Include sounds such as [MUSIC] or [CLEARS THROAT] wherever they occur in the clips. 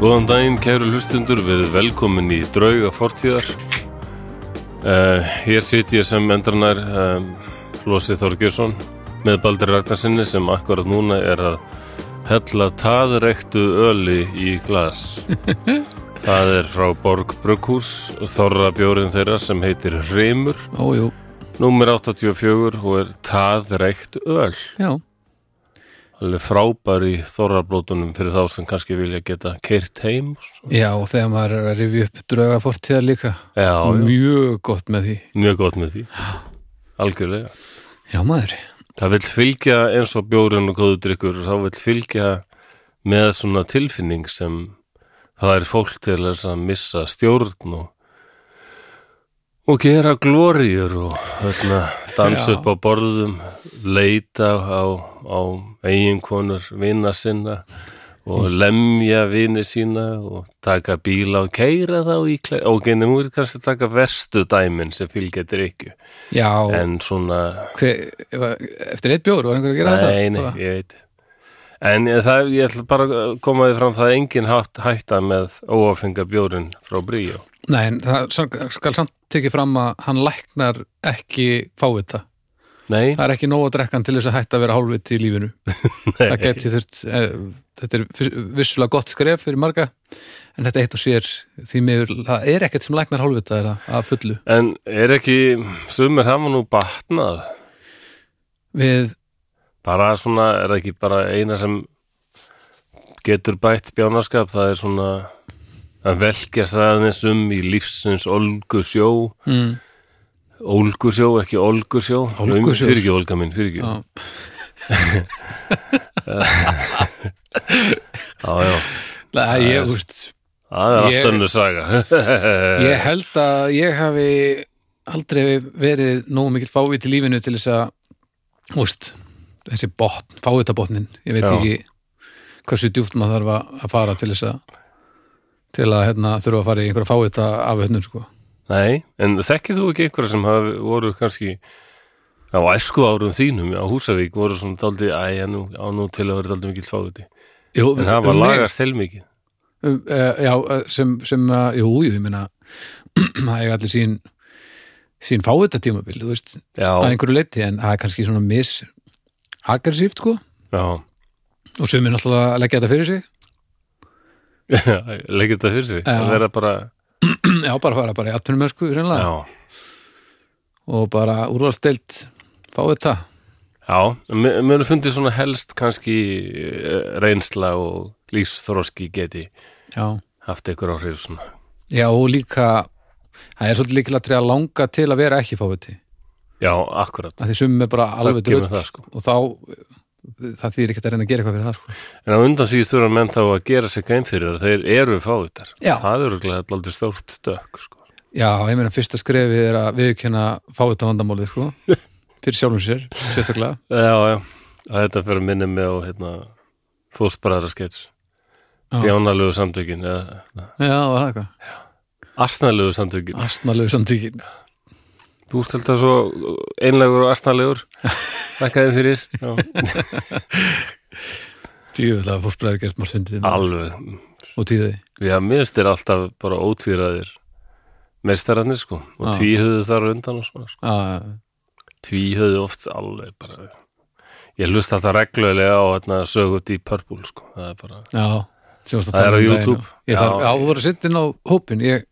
Góðan daginn, kæru hlustundur, við velkomin í drauga fortíðar. Uh, hér sit ég sem endranar um, Flósi Þorgjörsson með Baldur Ragnarsinni sem akkurat núna er að hella taðrektu öli í [LAUGHS] glas. Það er frá Borg Brugghús, þorra bjórin þeirra sem heitir Hreymur, Ójú, númer 84 og er taðrekt öl. já, Alveg frábær í þorrablótunum fyrir þá sem kannski vilja geta keirt heim. og svona. já og þegar maður er að rifja upp drauga fortíðar líka Já, já. mjög gott með því Mjög gott með því Algjörlega Já maður, Það vill fylgja eins og bjórun og góðu drikkur þá vill fylgja með svona tilfinning sem það er fólk til þess að missa stjórn og, og gera glóriur og hérna, dansa Já. upp á borðum leita á, á eiginkonur vina sinna og lemja vini sína og taka bíla og keira þá í klæð og genið nú er kannski að taka verstu dæmin sem fylgja drikju já en svona hver, ef- eftir eitt bjór var einhver að gera Nei, þetta? nei, ég veit En ég- það, ég ætla bara að koma því fram það er engin hatt, hætta með óafenga bjórin frá Bríó. Nei, en það sam- skal samt tekið fram að hann læknar ekki fávita Nei, Það er ekki nóg að drekka hann til þess að hætta að vera hálfviti í lífinu Það [LAUGHS] nei, geti þurft, eh, þetta er fyrst- vissulega gott skref fyrir marga en þetta eitt og sér því miður, það er ekkert sem læknar hálfvita er það að fullu en er ekki, sumir hafa nú batnað, við, bara svona, er það ekki bara eina sem getur bætt bjánaskap, það er svona að velkja staðins um í lífsins olgusjó, mm, olgusjó, ekki olgusjó, Ólgusjór. fyrir ekki olga mín, fyrir ekki, já, já, já, Nei, ég, úst, það er Ah. Ég- allt önnur saga. [LAUGHS] Ég held að ég hafi aldrei verið nógu mikil fávit í lífinu til þess að úst, þessi botn, fávitabotnin ég veit Já. ekki hversu djúft maður þarf að- að fara til þess að til að hérna, þurfa að fara í einhverja fávita af hönnum sko. Nei, en þekkið þú ekki einhverja sem hafi, voru kannski á æsku árum þínum á Húsavík voru svona daldið, æja nú, á nú til að vera daldið mikill fáti Jú, en það var um mig- lagast heilmikið um, uh, Já, eh, sem, sem uh, jú, jú, ég meina [CLEARS THROAT] það er allir sín sín fávita tímabil, þú veist að Já, einhverju leiti, en það er kannski svona mis aggressíft sko já, [LAUGHS] og sumir náttúrulega að leggja þetta fyrir sig [CLEARS THROAT] leggir þetta fyrir sig Já. að vera bara, Já, bara fara bara í atvinnum ösku já, reynlega og bara úrvalstelt fá þetta já mér mér hefur fundið svona helst kannski eh, reynsla og lífsþroski geti Já, haft einhver áhrif svona já og líka það er svolítið líkilega að langa til að vera ekki fá þetta Já, akkurat, að því sumum er bara alveg drull kemur það, sko. og þá það þýr ekkert að reyna að gera eitthvað fyrir það sko. en á undan því þurfa menn þá að gera sig gæm fyrir að þeir eru fávitar Já. það eru aldrei stórt stökk sko. Já, ég meina fyrsta skrefið er að viðkjöna fá þetta vandamálið [LAUGHS] sko. fyrir sjálfum sér, sérstaklega Já, já, að þetta fyrir að minni mig á hérna, fósbræðra skets Já. bjánalegu samtökin eða Já, var það eitthvað, astnalegu samtökin astnalegu samtíkin Þú ert alltaf svo einlegur og [LAUGHS] astnalegur þakkaði fyrir já. Djúðlega fórspræður gerst margt fyndið Alveg, og tíði já, minnst er alltaf bara ótvíraðir meistararnir sko og Já. tvíhöðu þar á undan og svona sko. ah, tvíhöðu oft alveg bara ég hlust alltaf reglulega á hérna, sögut í Purple sko það er bara Já, sem varst að Það tala er á um daginn. YouTube. Ég þarf, Já. já, þú voru að setja inn á hópin ég,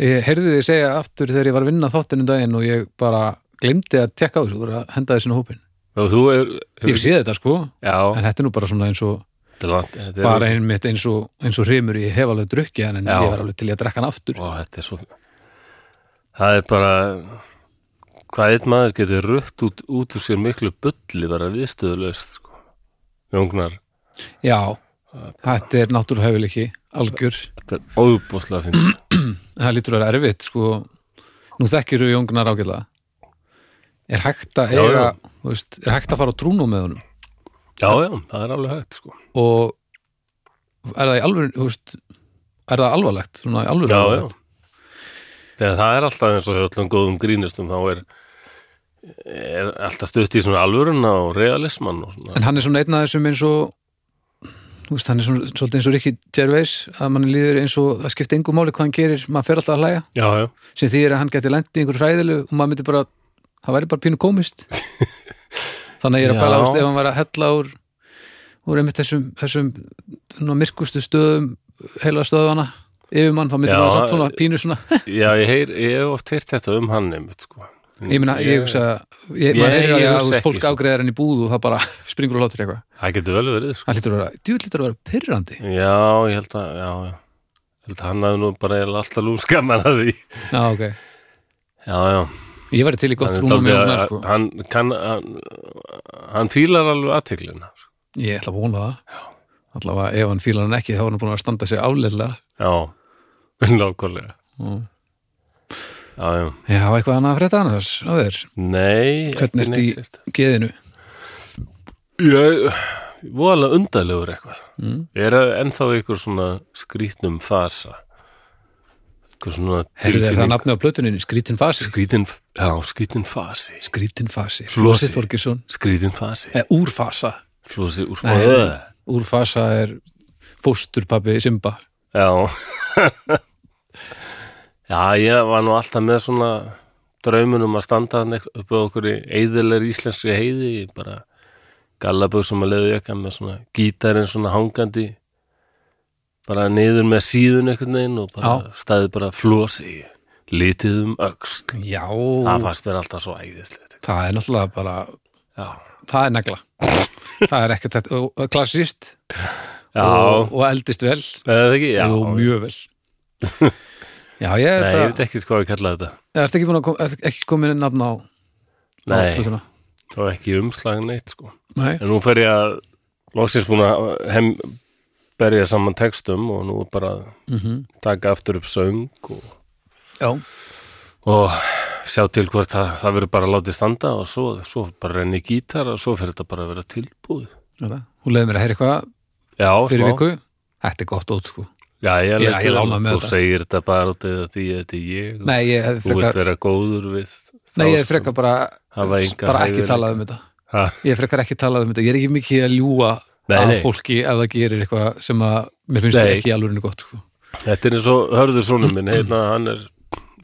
ég heyrði þið segja aftur þegar ég var að vinna þáttinn um daginn og ég bara glemdi að tekka á þessu, þú voru að henda þessu inn á hópin og þú er, Ég sé þetta sko, já, en þetta er nú bara svona eins og þetta er langt- þetta er- bara einmitt eins og, eins og hreymur ég hef alveg drukkið hann en Já. ég var alveg til ég að drekka hann aftur Ó, þetta er svo Það er bara hvað einn maður getur rutt út, út úr sér miklu bulli bara viðstöðulaust sko. Jóngnar Já, þetta er náttúruhæfileiki algjör, Þetta er óbúslega finn en það lítur að vera erfitt sko, nú þekkir þú jóngnar ágætlega Er hægt að Já, eiga, já. þú veist, er hægt að fara á trúnum með honum [CLEARS THROAT] Já, já, það er alveg hægt sko. og er það í alvöru þú veist, er það alvarlegt svona í alvöru Já, já alvarlegt? Þegar það er alltaf eins og hjá öllum góðum grínistum þá er, er alltaf stutt í svona alvöruna og realismann og svona en hann er svona einn af þessum eins og þú veist, hann er svona, svolítið eins og Ricky Gervais að mann líður eins og það skipti engu máli hvað hann gerir, maður fer alltaf að hlæja já, já, sem því er að hann geti lent í einhver hræðilu og maður myndi bara, það væri bara pínu [LAUGHS] komist þannig að ég er að Já. pæla ást ef hann væri að hella úr úr einmitt þessum, þessum svona myrkustu stöðum heila stöðana yfir mann, þá myndi Já, eh, maður samt svona pínu svona já ég, heyr, ég hef oft heyrt þetta um hann einmitt sko En ég meina, ég hugsa ég, Ég- maður er að ég ég, hugsa ekki, fólk sko. ágreðar henni í búð og það bara [LAUGHS] springur og hlátur í eitthvað það getur vel verið sko hann lítur að vera, djú lítur að vera pyrrandi já, ég held að, já, já Ég held að hann hafði nú bara eiginlega alltaf lúmskaman að því já, ok, já, já ég væri til í gott hann, er rúna dálítið með hún að- sko. hann, kann, hann, hann fílar alveg sko. aðteglina ég ætla að vona það allavega ef hann fílar hann ekki þá er hann búin að standa sig álega já, nákvæmlega Mm. já, já, já, eitthvað annað að frétta annars á þér, nei Hvernig ekki ertu í- neitt sérstakt. geðinu ég var alveg undalegur eitthvað mm. ég er ennþá í ykkur svona skrítnum fasa ykkur svona herðu það tilfinning nafni á plötuninni, skrítin fasi skrítin, já, skrítin fasi skrítin fasi, Flosi Flosi. Þorgesson skrítin fasi, eða úrfasa, flosi úr Nei. fóðu úrfasa er fósturpappi Simba já [LAUGHS] já, ég var nú alltaf með svona draumunum að standa þarna eit- upp á okkur í eðilegur íslenskri heiði í bara gallabögg sem að leiðu ekka með svona gítarinn svona hangandi bara niður með síðun einhvern veginn og bara Já. staðið bara flosi litið um öxl já, það það, fannst mér alltaf svo æðislegt er náttúrulega bara já, það er negla það er ekkert þetta, og- og klassist já og, og eldist vel eða ekki, já og mjög [LAUGHS] vel já, ég er nei, ég þetta veit ekki hvað ég kallaði þetta ertu ekki, búin að kom, ertu ekki komin inn nafn á á nei, plötuna? það var ekki umslag neitt sko Nei. En nú fer ég að loksins búin að hem, berja saman textum og nú er bara að Mm taka aftur upp söng og, já, og sjá til hvort það, það verður bara látið standa og svo, svo bara renni í gítar og svo fer þetta bara að vera tilbúið. þetta. hún leiði mér að heyra eitthvað Já, fyrir smá. viku þetta er gott út sko Já, ég Ég- leist ég til lána með og þetta. segir þetta bara út eða því að þetta er ég og nei, ég hef þú vilt frekar, vera góður við þá nei, ég hef sem- frekar bara, hafa enga bara ekki hæfileika. talað um þetta Ha, ég hef frekar ekki talað um þetta, ég er ekki mikið að ljúga Nei, að nei. fólki ef það gerir eitthvað sem að mér finnst Nei. ekki alveg gott sko. Þetta er eins og hörður svona minn, hérna hann er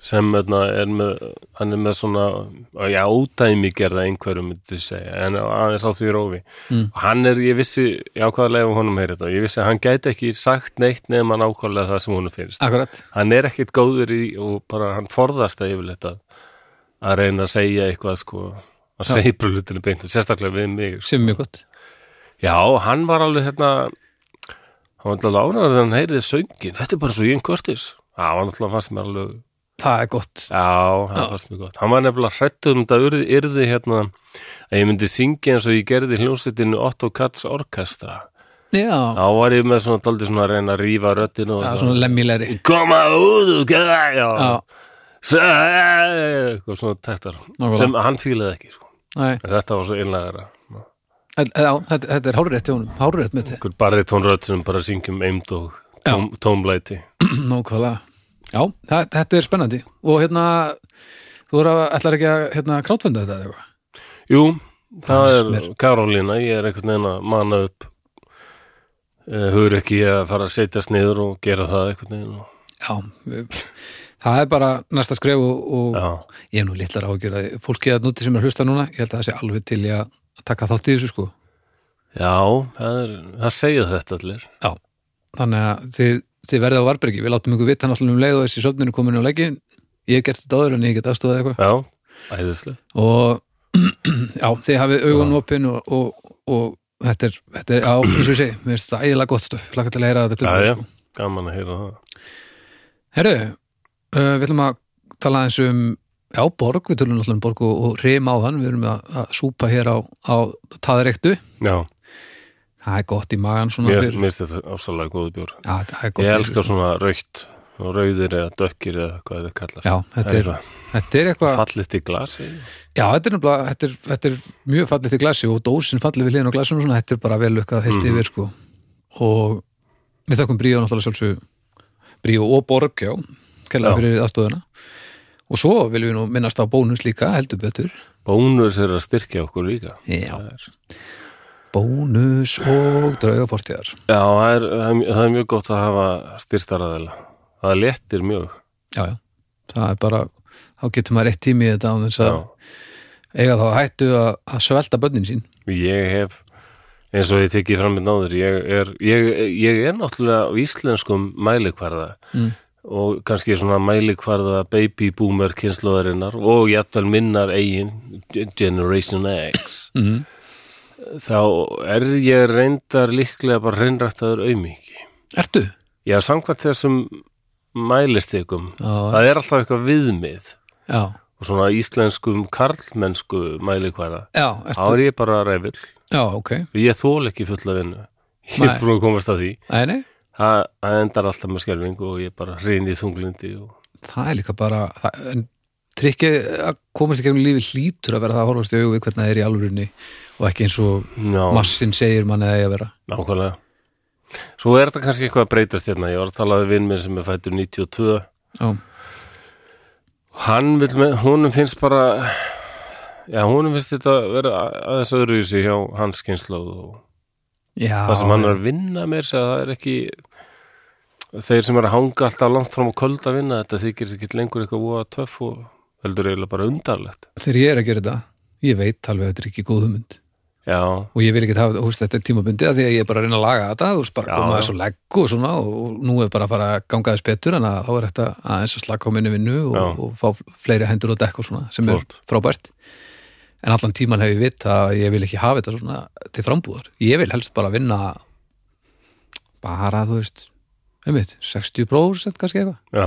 sem hérna er með hann er með svona, já, ódæmi gerða einhverjum, myndi ég segja, en aðeins á því rófi. Mm. Og Hann er, ég vissi, ég ákvaða að leifa honum heyri þetta, og ég vissi að hann gæti ekki sagt neitt nefn hann ákvaðlega það sem honum finnst. akkurat, Hann er ekkit góður í, og bara hann forðast að yfirleitt að, að reyna að segja eitthvað, sko, að Já. segja brúlutinu beint og sérstaklega við mig, sko. sem er mjög gott Já, hann var alveg hérna hann var alltaf lánaður þegar hann heyrði söngin þetta er bara svo Jim Curtis Já, hann alltaf fannst mér alveg það er gott, Já, hann Já. fannst mér gott Hann var nefnilega hrættu um þetta yrði, yrði hérna að ég myndi syngja eins og ég gerði í hljómsveitinu Otto Katz Orkestra já, Þá var ég með svona daldið svona að reyna að rífa röddinu og já svona lemmilegri Koma út og gæða Já, já, Sæ- eitthvað svona tektar nákvæmlega sem hann fílaði ekki sko. Nei, En þetta var svo einlægara en- já, þetta, þetta er hárrétt hjá honum, hárrétt með þetta Einhver baritónrödd sem bara syngjum eimd og tóm, tómlæti [CLEARS THROAT] Nákvæmlega. Já, það, þetta er spennandi. Og hérna, þú er að, ætlar ekki að hérna, krátfunda þetta eða eitthvað? Jú, það Fannst er mér. Karolína, ég er einhvern veginn að manna upp uh, hugur ekki að fara að setjast niður og gera það einhvern veginn og, Já, við- það er bara næsta skref og, og já, ég er nú litlar ágjör að fólkið að núti sem er að hlusta núna, ég held að það sé alveg til í að taka þátt í þessu sko. já, það, er, það segja þetta allir Já, þannig að þið, þið verðið á varbergi, við látum ykkur vita náttúrulega um leið og þessi söfninu komin á leikin, ég hef gert þetta áður en ég get aðstofað eitthvað. Já, æðislega og [CLEARS THROAT] já, þið hafið augun opinn og, og, og þetta er, þetta er, já, eins og ég segi, mér finnst það ægilega gott stöf, laka til að heyra þetta Já, tilbúið, já, sko. gaman að heyra það Herru, uh, við ætlum að tala eins um, já, borg, við tölum alltaf um borg og, og reym á þann, við erum að, að súpa hér á, á taðarektu, Já, það er gott í magan svona mér fyrir- mér finnst þetta ásalega góðu bjór já, það er gott Ég fyrir- elska svona raukt og rauðir eða dökkir eða hvað þetta kallast Já, þetta er, eitthvað þetta er eitthvað, fallit í glasi já, þetta er nefnilega, þetta er, þetta er mjög fallið til glasi og dósin fallið við liðin á glasinu og svona, þetta er bara vel lukkað heilt Mhm. yfir, sko. Og við þakkum Bríó náttúrulega sjálfsög, Bríó og Borg, já, kærlega Já. fyrir aðstöðuna. Og svo viljum við nú minnast á bónus líka, heldur betur. Bónus er að styrkja okkur líka Já. Það er- bónus og draugafortíðar Já, það er, það er mj- það er mjög gott að hafa styrtaraðila. Það léttir mjög. já, já, það er bara þá getur maður eitt tími í þetta án þess að eiga þá að hættu að, að svelta börnin sín Ég hef, eins og ég tekið fram með náður, ég er, ég, ég er náttúrulega á íslenskum mælikvarða Mm. og kannski svona mælikvarða baby boomer kynnslóðarinnar og jættal minnar eigin Generation X. [COUGHS] mm. Þá er ég reyndar líklega bara reynrættaður auðmiki. Ertu? Já, samkvæmt þessum mælistikum, Já, það er alltaf eitthvað viðmið já, og svona íslenskum karlmennsku mælikværa. já, Þá ertu? er ég bara reyfil. Já, ok, Ég þól ekki fulla vinnu. Ég Nei. er búin að komast að því. nei, nei Það það endar alltaf með skelfing og ég bara hrein í þunglindi og það er líka bara það, en trikkið að komast í gegnum lífi hlýtur að vera það að horfast í augu við hvernig það er í alvörinni og ekki eins og já, massin segir manni að það er að vera nákvæmlega. Svo er þetta kannski eitthvað að breytast hérna. Ég var að tala við vinn minn sem er fættur 92. já, Hann vil með, húnum finnst bara, já, húnum finnst þetta að vera aðeins öðruvísi hjá hans kynnslóð og já það sem hann er að vinna mér segja, það er ekki þeir sem er að hanga alltaf langt fram á köld að vinna þetta þykir ekki lengur eitthvað voða töff og heldur eiginlega bara undarlegt þegar ég er að gera þetta ég veit alveg að þetta er ekki góð hugmynd já, og ég vil ekki hafa húst, þetta er tímabundið af því að ég er bara að reyna að laga þetta þú veist bara Já, koma já. þessu legg og svona og nú er bara að fara að ganga þess betur en að þá er þetta aðeins að slaka á minni vinnu og, Já. og fá fleiri hendur og dekk og svona sem er Flott. frábært en allan tíman hef ég vitt að ég vil ekki hafa þetta svona til frambúðar ég vil helst bara vinna bara þú veist einmitt, 60% kannski eitthvað já,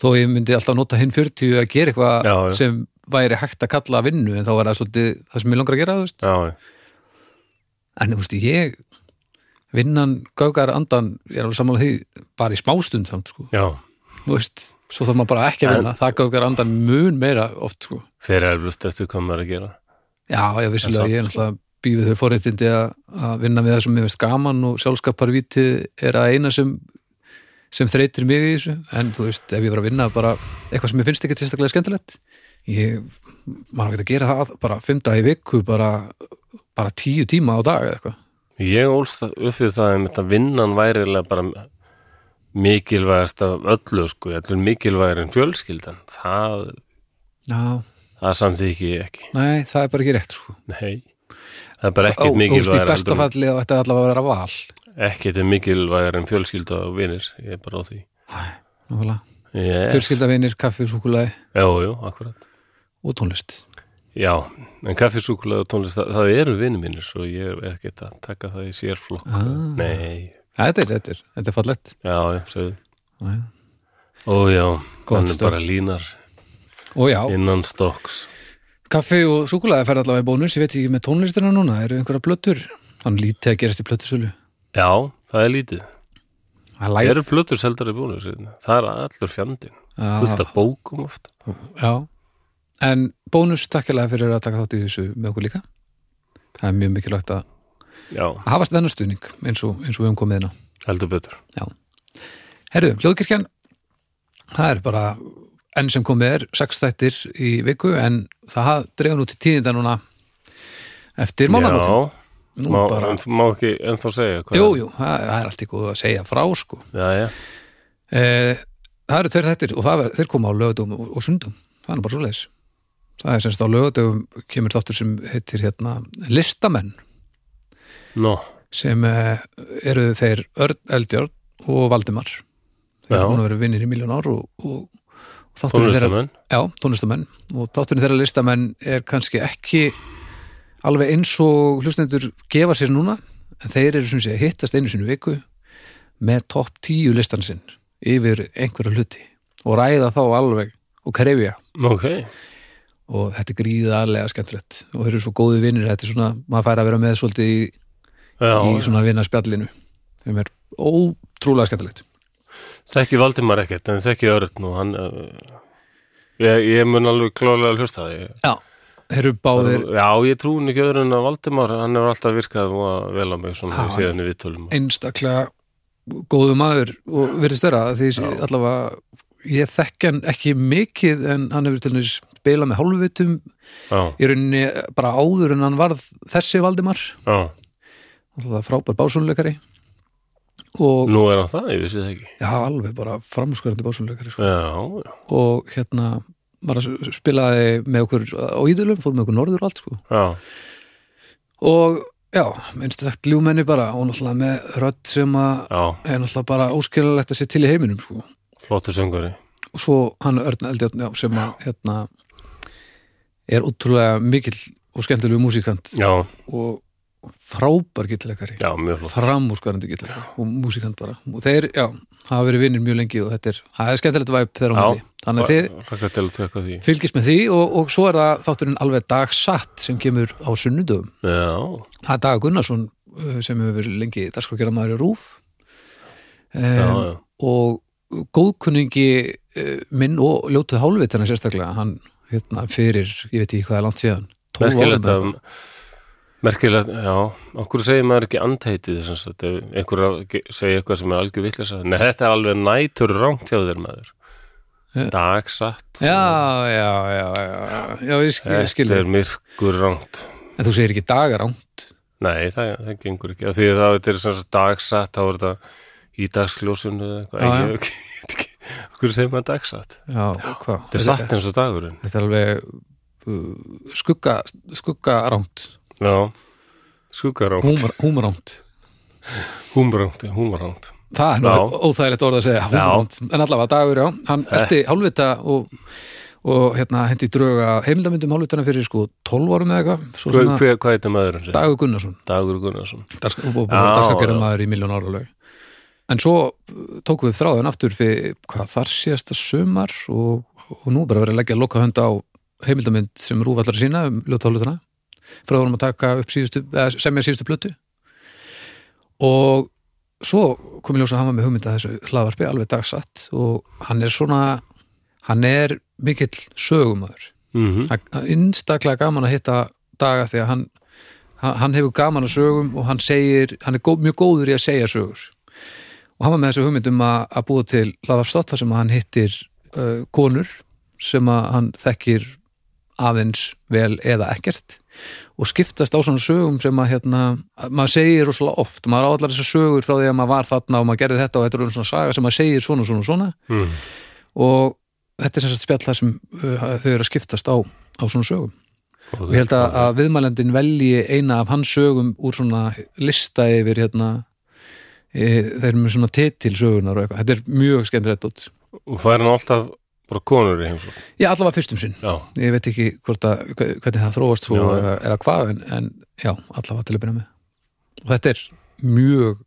þó ég myndi alltaf nota hinn 40 að gera Já, eitthvað já. sem væri hægt að kalla vinnu en þá er það svolítið það sem ég langar að gera þú veist já, en þú veist, ég vinnan gaugar andan, ég er alveg sammála því bara í smástund samt, sko já þú veist, svo þarf maður bara ekki að vinna það gaugar andan mun meira oft, sko fyrir erfust eftir hvað maður er að gera já, já, vissulega, En samt, sko. ég er náttúrulega býfið þau forréttindi að að vinna við það sem mér veist gaman og sjálfskaparvítið er að eina sem sem þreytir mig í þessu, en þú veist, ef ég var að vinna bara eitthvað sem mér finnst ekki sérstaklega skemmtilegt ég, maður á ekki að gera það bara fimm dag í viku, bara bara tíu tíma á dag eða eitthvað ég ólst það- upp við það einmitt að vinnan væri eiginlega bara mikilvægast af öllu sko, allir mikilvægir en fjölskyldan það, Já, það samþykki ég ekki nei, það er bara ekki rétt, sko nei, það er bara Ó, ekkit Þú veist, í mikilvægir besta heldur en- falli og þetta er allavega að vera val ekkit er mikilvægir en fjölskylda og vinir, ég er bara á því Nákvæmlega. yes. Fjölskyldavinir, kaffi, súkulaði Jú, jú, akkurat. og tónlist Já, en kaffisúkulega og tónlist, það, það eru vinnu mínir svo ég er ekkert að taka það í sérflokk. Ah. Nei, Þetta er, þetta er, þetta er fallett já, já, segðu. Já, já. Ó já, Gott hann er stokk. bara línar Og já, innan stokks. kaffi og súkulaði fer allavega í bónus ég veit ekki með tónlistina núna, eru einhverja blöttur þannig lítið að gerast í blöttusölu Já, það er lítið. Það er Æf. læð Eru plötur seldar í búinu síðan? Það er allur fjandinn. Fullt Já, af bókum oft. Já, en bónus takkilega fyrir að taka þátt í þessu með okkur líka Það er mjög mikilvægt að Já, að hafa þennan stuðning eins og, eins og við um komið inn á heldur betur. Herðu, hljóðkirkjan það er bara enn sem komið er sex þættir í viku en það dreifum nú til tíðinda núna eftir mánamótum Já, Nú má, bara, en, má ekki ennþá segja hvað. jú, jú, það, það er allt í góð að segja frá sko Já, já, e, Það eru tveir þættir og það ver, þeir koma á lögudum og, og sundum, það er nú bara svo leis Það er semst á lögudum kemur þáttur sem heitir hérna listamenn nó, sem eh, eru þeir Örn Eldjörn og Valdimar þeir Já. eru búin að vera vinnir í miljón ár og, og, og þátturinn þeirra tónlistamenn. Já, tónlistamenn og þátturinn þeirra listamenn er kannski ekki alveg eins og hlustendur gefa sér núna en þeir eru sem sé að hittast einu sinni í viku með topp tíu listan sinn yfir einhverja hluti og ræða þá alveg og krefja Ok, og þetta er gríðarlega skemmtilegt og þeir eru svo góði vinnir, þetta er svona maður fær að vera með svolítið í, já, í svona vinnarspjallinu þeim er ótrúlega skemmtilegt Þekki Valdimar ekkert, en þekki Örn og hann uh, ég, ég mun alveg klálega hlusta það ég, Já, þeir eru báðir Já, ég trúin ekki öðru en að Valdimar hann hefur alltaf virkað voða vel á mig svona Já, síðan í viðtölum einstaklega góðu maður og virðist vera því Já. allavega ég þekk hann ekki mikið en hann hefur til næs spilað með hálfvitum Já, í rauninni bara áður en hann varð þessi Valdimar já, alltaf frábær básónuleikari og Nú er hann það, ég vissi það ekki. já, alveg bara framskurandi básónuleikari sko. Já, já, og hérna maður spilaði með okkur á ídölum, fór með okkur norður og allt sko já. og já, minnst þetta ljúmenni bara og náttúrulega með rödd sem að já. er náttúrulega bara óskilalegt að sé til í heiminum sko. Flottur söngari. og svo hann Örn Eldjátt já, sem að hérna er útrúlega mikill og skemmtilegu músikant Já, og frábær gittilegari já, mjög flott. framúskarandi gittilegari og músikant bara og þeir, já, hafa verið vinnir mjög lengi og þetta er, það er skemmtilegt væp þeirra á Já. milli þannig að þið Hlakka til að tekka því. fylgist með því og, og svo er það þátturinn alveg dagsatt sem kemur á sunnudöfum Já, það er Dag Gunnarsson uh, sem hefur verið lengi dagskrafgerða maður í Rúf já, um, já. og góðkunningi uh, minn og ljótuð hálfvitana sérstaklega hann hérna, fyrir, ég veit ekki hvað er langt síðan 12 árum Merkilegt eða eitthvað. að, merkilegt, já, okkur segir maður ekki andheitið þess að einhver segir eitthvað sem er algjör vitleysa. Nei, þetta er alveg nætur rangt hjá þér maður. Já. Dagsatt. já, já, já, já, já Eh, ég skil, ég skil Þetta er myrkur rangt. en þú segir ekki dagarangt Nei, það, það gengur ekki. Af Því að það þetta er svona dagsatt, þá er þetta í dagsljósinu eða eitthvað. Já, Já, já. Ég veit ekki, okkur segir maður dagsatt. já, hvað? Þetta er satt eins og dagurinn. þetta er alveg uh, skugga, skuggarangt Já, skuggarangt. húmar, húmarangt Húmrangt, húmrangt. Það er Já. Eh. nú óþægilegt orð að segja húmant, en allavega dagur, já, hann elti hálfvita og, og hérna hendi dröga heimildamindum hálfvitana fyrir sko 12 árum eða eitthvað, svo Hvað, svona hvað, hvað heitir maðurinn? sem? Dagur Gunnarsson Dagur Gunnarsson. darsk- og Já, dagskapgerðum já. maður í miljón ára lög En svo uh, tókum við upp þráðan aftur fyrir hvað þar síðasta sumar og, og nú er bara verið að leggja loka á heimildamind sem Rúf allar sína um ljóta hálfvitana frá vorum að taka upp síðustu, eða semja síðustu plötu og svo kom í ljós að hann var með hugmynda þessu hlaðvarpi alveg dagsatt og hann er svona hann er mikill sögumöður Mm einstaklega gaman að hitta daga því að hann, hann hann hefur gaman að sögum og hann segir hann er gó, mjög góður í að segja sögur og hann var með þessu hugmyndum að, að búa til hlaðvarpstátt þar sem hann hittir uh, konur sem að hann þekkir aðeins vel eða ekkert og skiptast á svona sögum sem að hérna, að maður segir rosalega oft maður á allar þessar sögur frá því að maður var þarna og maður gerði þetta og þetta er svona saga sem maður segir svona svona svona Mm. og þetta er sem sagt spjall þar sem uh, þau eru að skiptast á, á svona sögum Og og ég held að, að viðmælandin velji eina af hans sögum úr svona lista yfir hérna e, þeir eru með svona titil sögunar og eitthvað þetta er mjög skemmtilegt út Og fær hann alltaf bara konur í heimsókn. já allavega fyrstum sinn, Já, ég veit ekki hvort að, hve- hvernig það þróast svo Já. eða, eða hvað en, en já, allavega til að byrja með og þetta er mjög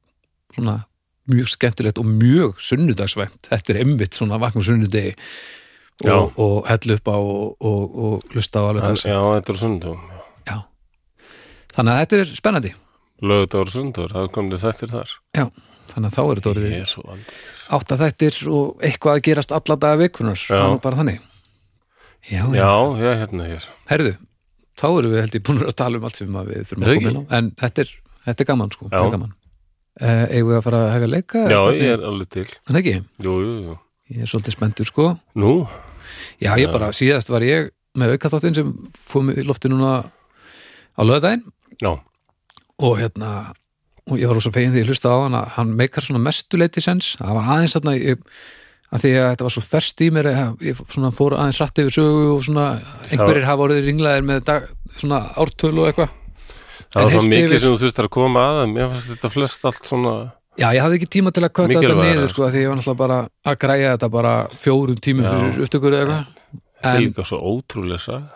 svona mjög skemmtilegt og mjög sunnudagsvæmt þetta er einmitt svona vaknum sunnudegi Já. og, og hellu upp á og, og, og lusta á alveg hann, dags já þetta er sundum. já. þannig að þetta er spennandi Lögðar sundur, það komið þettir þar. Já, þannig að þá er þetta orðið Ég er svo vandi. átta þættir og eitthvað að gerast alla daga vikunar, Já. það er bara þannig Já, já. Já, já, hérna hér. herðu þá erum við held ég búin að tala um allt sem að við þurfum að Er það koma inn á, en þetta er, þetta er gaman sko, Já. mjög gaman uh, eigum við að fara að hefja leika? Já, Hvernig- ég er alveg til. En ekki, Jú, jú, jú. ég er svolítið spenntur sko Nú, Já, ég bara, síðast var ég með aukaþáttin sem fóðum í lofti núna á löðdæn já, og hérna og ég var rosa fegin því ég hlusta á hann að hann meikar svona mestu leiti sens það var aðeins þarna ég, að því að þetta var svo ferst í mér eh, ég, ég svona fór aðeins rætt yfir sögu og svona einhverjir hafa orðið ringlaðir með dag, svona ártölu og eitthvað það En var svo heilt mikið yfir- sem þú þurftir að koma að en mér fannst þetta flest allt svona já ég hafði ekki tíma til að kötta þetta Mikilvægara. niður sko að því ég var náttúrulega bara að græja þetta bara fjórum tímum Já. fyrir upptökur eða eitthvað en líka svo ótrúlega saga.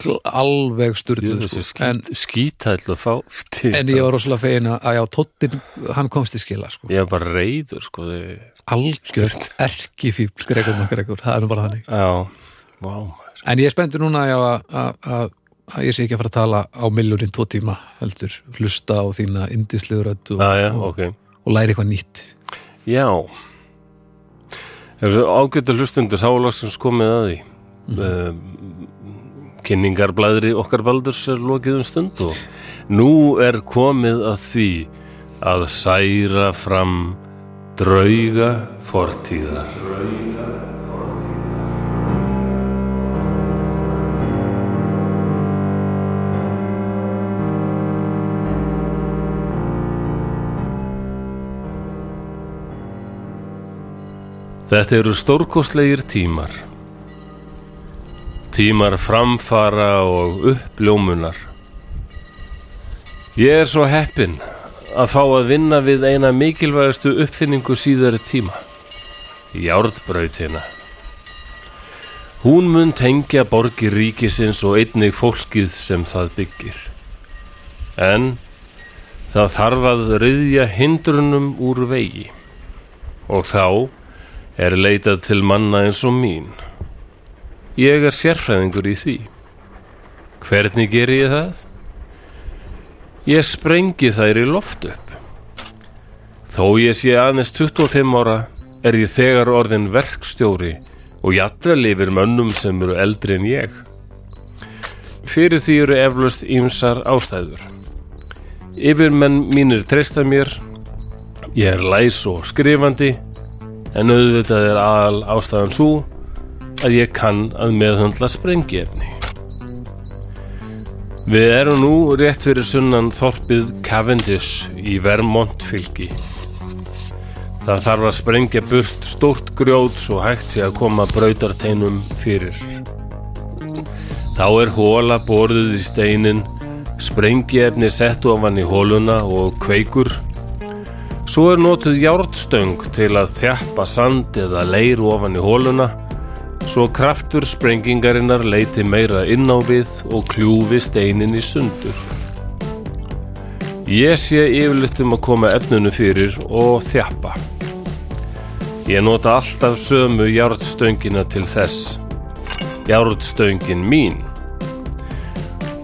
gl- alveg Jú, styrluð þessi sko. en, skít, skítæll að fá. en ég var rosalega fegin að, að já tóttin hann komst í skila sko Ég var bara reyður, sko. Þið... algjört erkifíbl Gregor MacGregor, það er nú bara þannig Já, vá, maður. En ég er spenntur núna já, að- að- að að ég sé ekki að fara að tala á milljónin tvo tíma heldur, hlusta á þína indislegur öll og, Já, já, og, ok. og læri eitthvað nýtt Já Hefur ágættu hlustundur sálagsins komið að því mm Kynningarblæðri okkar baldurs er lokið um stund og nú er komið að því að særa fram drauga fortíðar Þetta eru stórkostlegir tímar. Tímar framfara og uppljómunar. Ég er svo heppinn að fá að vinna við eina mikilvægastu uppfinningu síðari tíma. Járnbrautina. Hún mun tengja borgir ríkisins og einnig fólkið sem það byggir. En það þarf að ryðja hindrunum úr vegi. Og þá er leitað til manna eins og mín. Ég er sérfræðingur í því. Hvernig geri ég það? Ég sprengi þær í loft upp. Þó ég sé aðeins 25 ára er ég þegar orðin verkstjóri og jafnvel yfir mönnum sem eru eldri en ég. Fyrir því eru eflaust ýmsar ástæður. Yfirmenn mínir treysta mér, ég er læs og skrifandi, en auðvitað er aðal ástæðan svo að ég kann að meðhundla sprengiefni. Við erum nú rétt fyrir sunnan þorpið Cavendish í Vermont fylki. Það þarf að sprengja burt stórt grjót svo hægt sé að koma brautarteinum fyrir. Þá er hóla borðið í steinin, sprengiefni sett ofan í hóluna og kveikur Svo er notuð járnstöng til að þjappa sand eða leir ofan í hóluna svo kraftur sprengingarinnar leiti meira inn á við og kljúfi steinin í sundur. Ég sé yfirleitt um að koma efnunu fyrir og þjappa. Ég nota alltaf sömu járnstöngina til þess. Járnstöngin mín.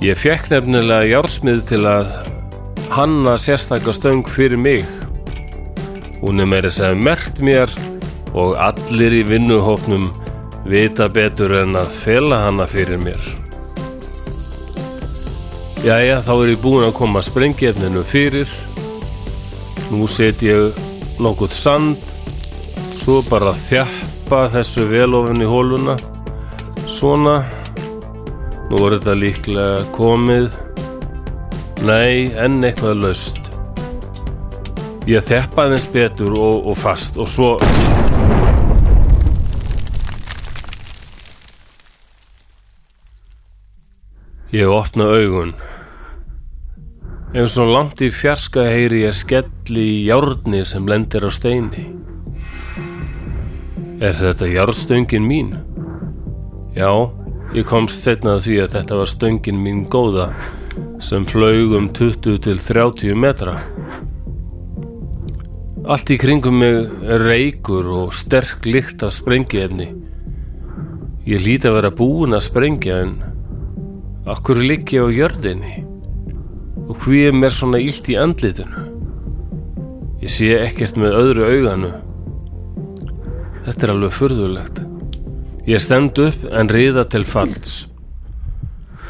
Ég fekk nefnilega járnsmið til að hanna sérstakka stöng fyrir mig Hún er meira sem mert mér og allir í vinnuhóknum vita betur en að fela hana fyrir mér. Jæja, þá er ég búin að koma sprengjefninu fyrir. Nú set ég nokkuð sand, svo bara þjappa þessu velofin í hóluna. Svona, nú er þetta líklega komið. Nei, enn eitthvað löst. Ég þeppa aðeins betur og, og fast og svo... Ég opna augun. Ef svo langt í fjarska heyri ég skelli í járni sem lendir á steini. Er þetta járnstöngin mín? Já, ég komst setna að því að þetta var stöngin mín góða sem flaug um 20 til 30 metra. Allt í kringum mig er reykur og sterk lykt af sprengiefni. Ég líti að vera búin að sprengja en akkur ligg ég á jörðinni og hví er mér svona illt í andlitinu. Ég sé ekkert með öðru auganu. Þetta er alveg furðulegt. Ég stend upp en riða til falls.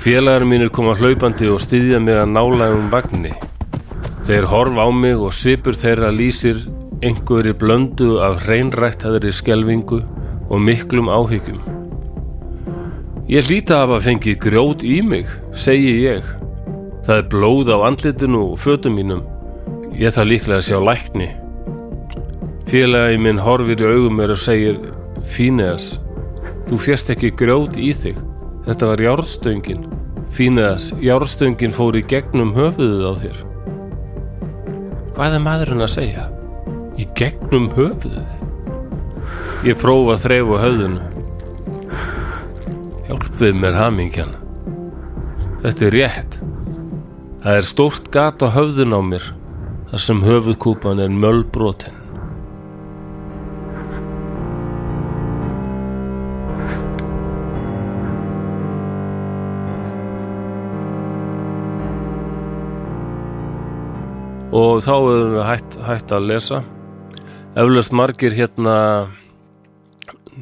Félagar mínir koma hlaupandi og styðja mig að nálægum vagnni. Þeir horfa á mig og svipur þeirra lýsir einhverju blöndu af hreinrættaðri skelvingu og miklum áhyggjum. Ég hlýta af að fengi grjót í mig, segi ég. Það er blóð á andlitinu og fötum mínum. Ég þarf líklega að sjá lækni. Félagi minn horfir í augum mér og segir, Fíneas, þú fjast ekki grjót í þig. Þetta var járstöngin. Fíneas, járstöngin fór í gegnum höfuðið á þér. Hvað er maðurinn að segja? Í gegnum höfuðu? Ég prófa að þreifa höfðinu. Hjálpið mér hamingjan. Þetta er rétt. Það er stórt gat á höfðun á mér þar sem höfuðkúpan er mölbrotin. og þá höfum við hætt, hætt að lesa eflaust margir hérna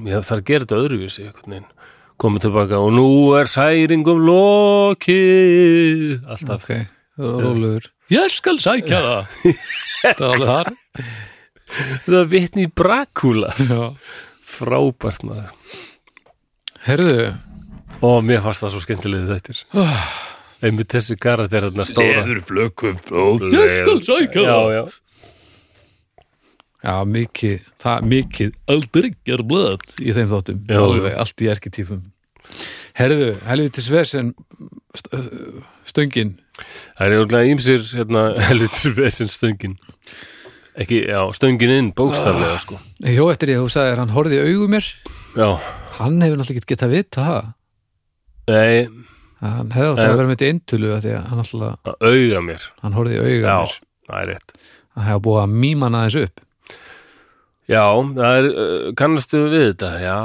já, þar gerir þetta öðruvísi einhvern veginn komið tilbaka og nú er særingum lokið alltaf ok, það var rólegur ég skal sækja það [LAUGHS] það var alveg þar það er vitni í brakúla Já. frábært maður herðu, og mér fannst það svo skemmtilegði þetta einmitt þessi karakter hérna stóra blöku blóð Leður. sækja já, já já, mikið, það mikið aldrei ger blöð í þeim þáttum, Já, alveg allt í erkitífum herðu, helvitis vesen st- stöngin Það er jörglega ímsir hérna [LAUGHS] helvitis vesinn stöngin ekki, já, stöngin inn bókstaflega sko ég hjó eftir ég, þú sagðir, hann horfði í augum mér já, hann hefur náttúrulega ekki getað vita það nei, hann hefði átt Eh. að vera með þetta intölu af því að hann alltaf, að auga mér hann horfði í auga já, mér það er rétt hann hefði búið að míma hann aðeins upp já, það er, uh, kannastu við þetta já,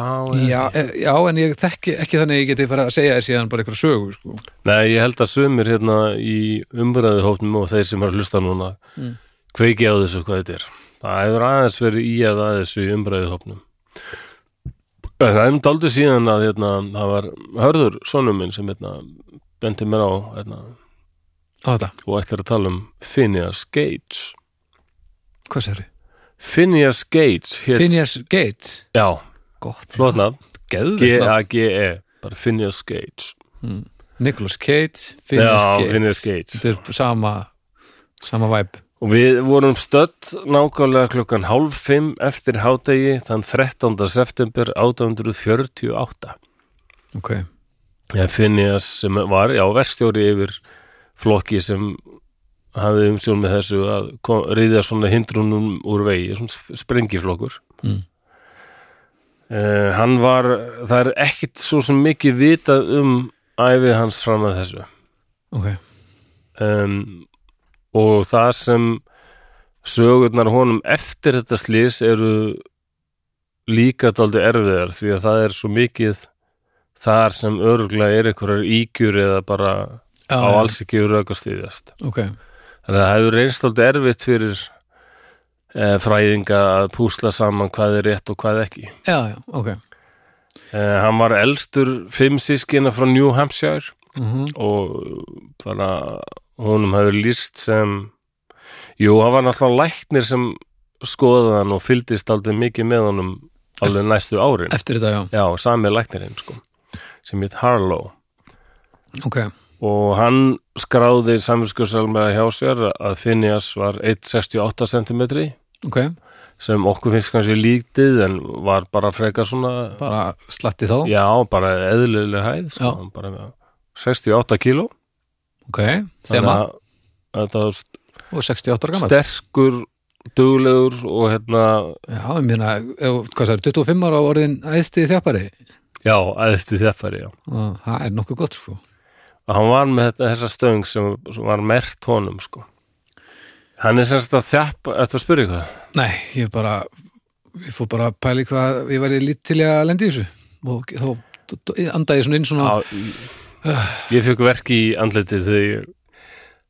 já, e- já, en ég þekki ekki þannig að ég geti fara að segja þér síðan bara eitthvað sögu sko. nei, ég held að sömur hérna í umbræðuhópnum og þeir sem eru að hlusta núna Mm. kveiki á þessu hvað þetta er það hefur aðeins verið í að að þessu í umbræðuhópnum það er um daldi síðan að hérna, það var hörður sonum minn sem hérna, bendi mér á hérna, á þetta, og ætlar að tala um Phineas Gage hvað sér þau? Phineas Gage hét, Phineas Gates, já, gott flotna geðveit G-A-G-E, E, bara Phineas Gage Nicholas Gates, Phineas Já, Gates Phineas Gates. þetta er sama sama væp og við vorum stödd nákvæmlega klukkan hálf fimm eftir hádegi þann 13. september 1848 ok, Já, Phineas sem var, já, verstjóri yfir flokki sem hafði umsjón með þessu að kom- ryðja svona hindrunum úr vegi, svona sp- sprengiflokkur. Mm. Eh, hann var, það er ekkit svo sem mikið vitað um æfi hans fram að þessu. ok, Um, og það sem sögurnar honum eftir þetta slís eru líka daldi erfiðar því að það er svo mikið þar sem örgulega er einhverjar ígjur eða bara Já, á já, alls ekki rökastíðjast ok þannig að það hefur reynst daldi erfitt fyrir e, fræðinga að púsla saman hvað er rétt og hvað ekki já, já, ok e, hann var elstur fimm sískina frá New Hampshire mm og bara honum hefur líst sem jú, hann var náttúrulega læknir sem skoðaði hann og fylgdist aldrei mikið með honum alveg næstu árin eftir þetta, já, já, sami læknirinn sko sem heit Harlow ok og hann skráði samvinskursalmega hjá sér að Phineas var 1,68 cm ok, sem okkur finnst kannski lítið en var bara frekar svona bara slatti þá já, bara eðlileg hæð Já. sko, bara 68 kíló ok, þema Þannig að þetta var og 68 ára gammal sterkur, duglegur og hérna, Já, ég meina, ef- hvað sagði, 25 ára á orðin æðsti þjafari já, æðisti þjafari, já. það er nokkuð gott sko Og hann var með þetta, þessa stöng sem, sem var mert honum, sko. Hann er semst að þjappa, eftir að spyrja eitthvað. Nei, ég bara ég fór bara að pæli hvað ég væri lítilega að lendi í þessu og þá d- d- anda ég svona inn svona Já, ég- ég fikk verki í andlitið þegar ég,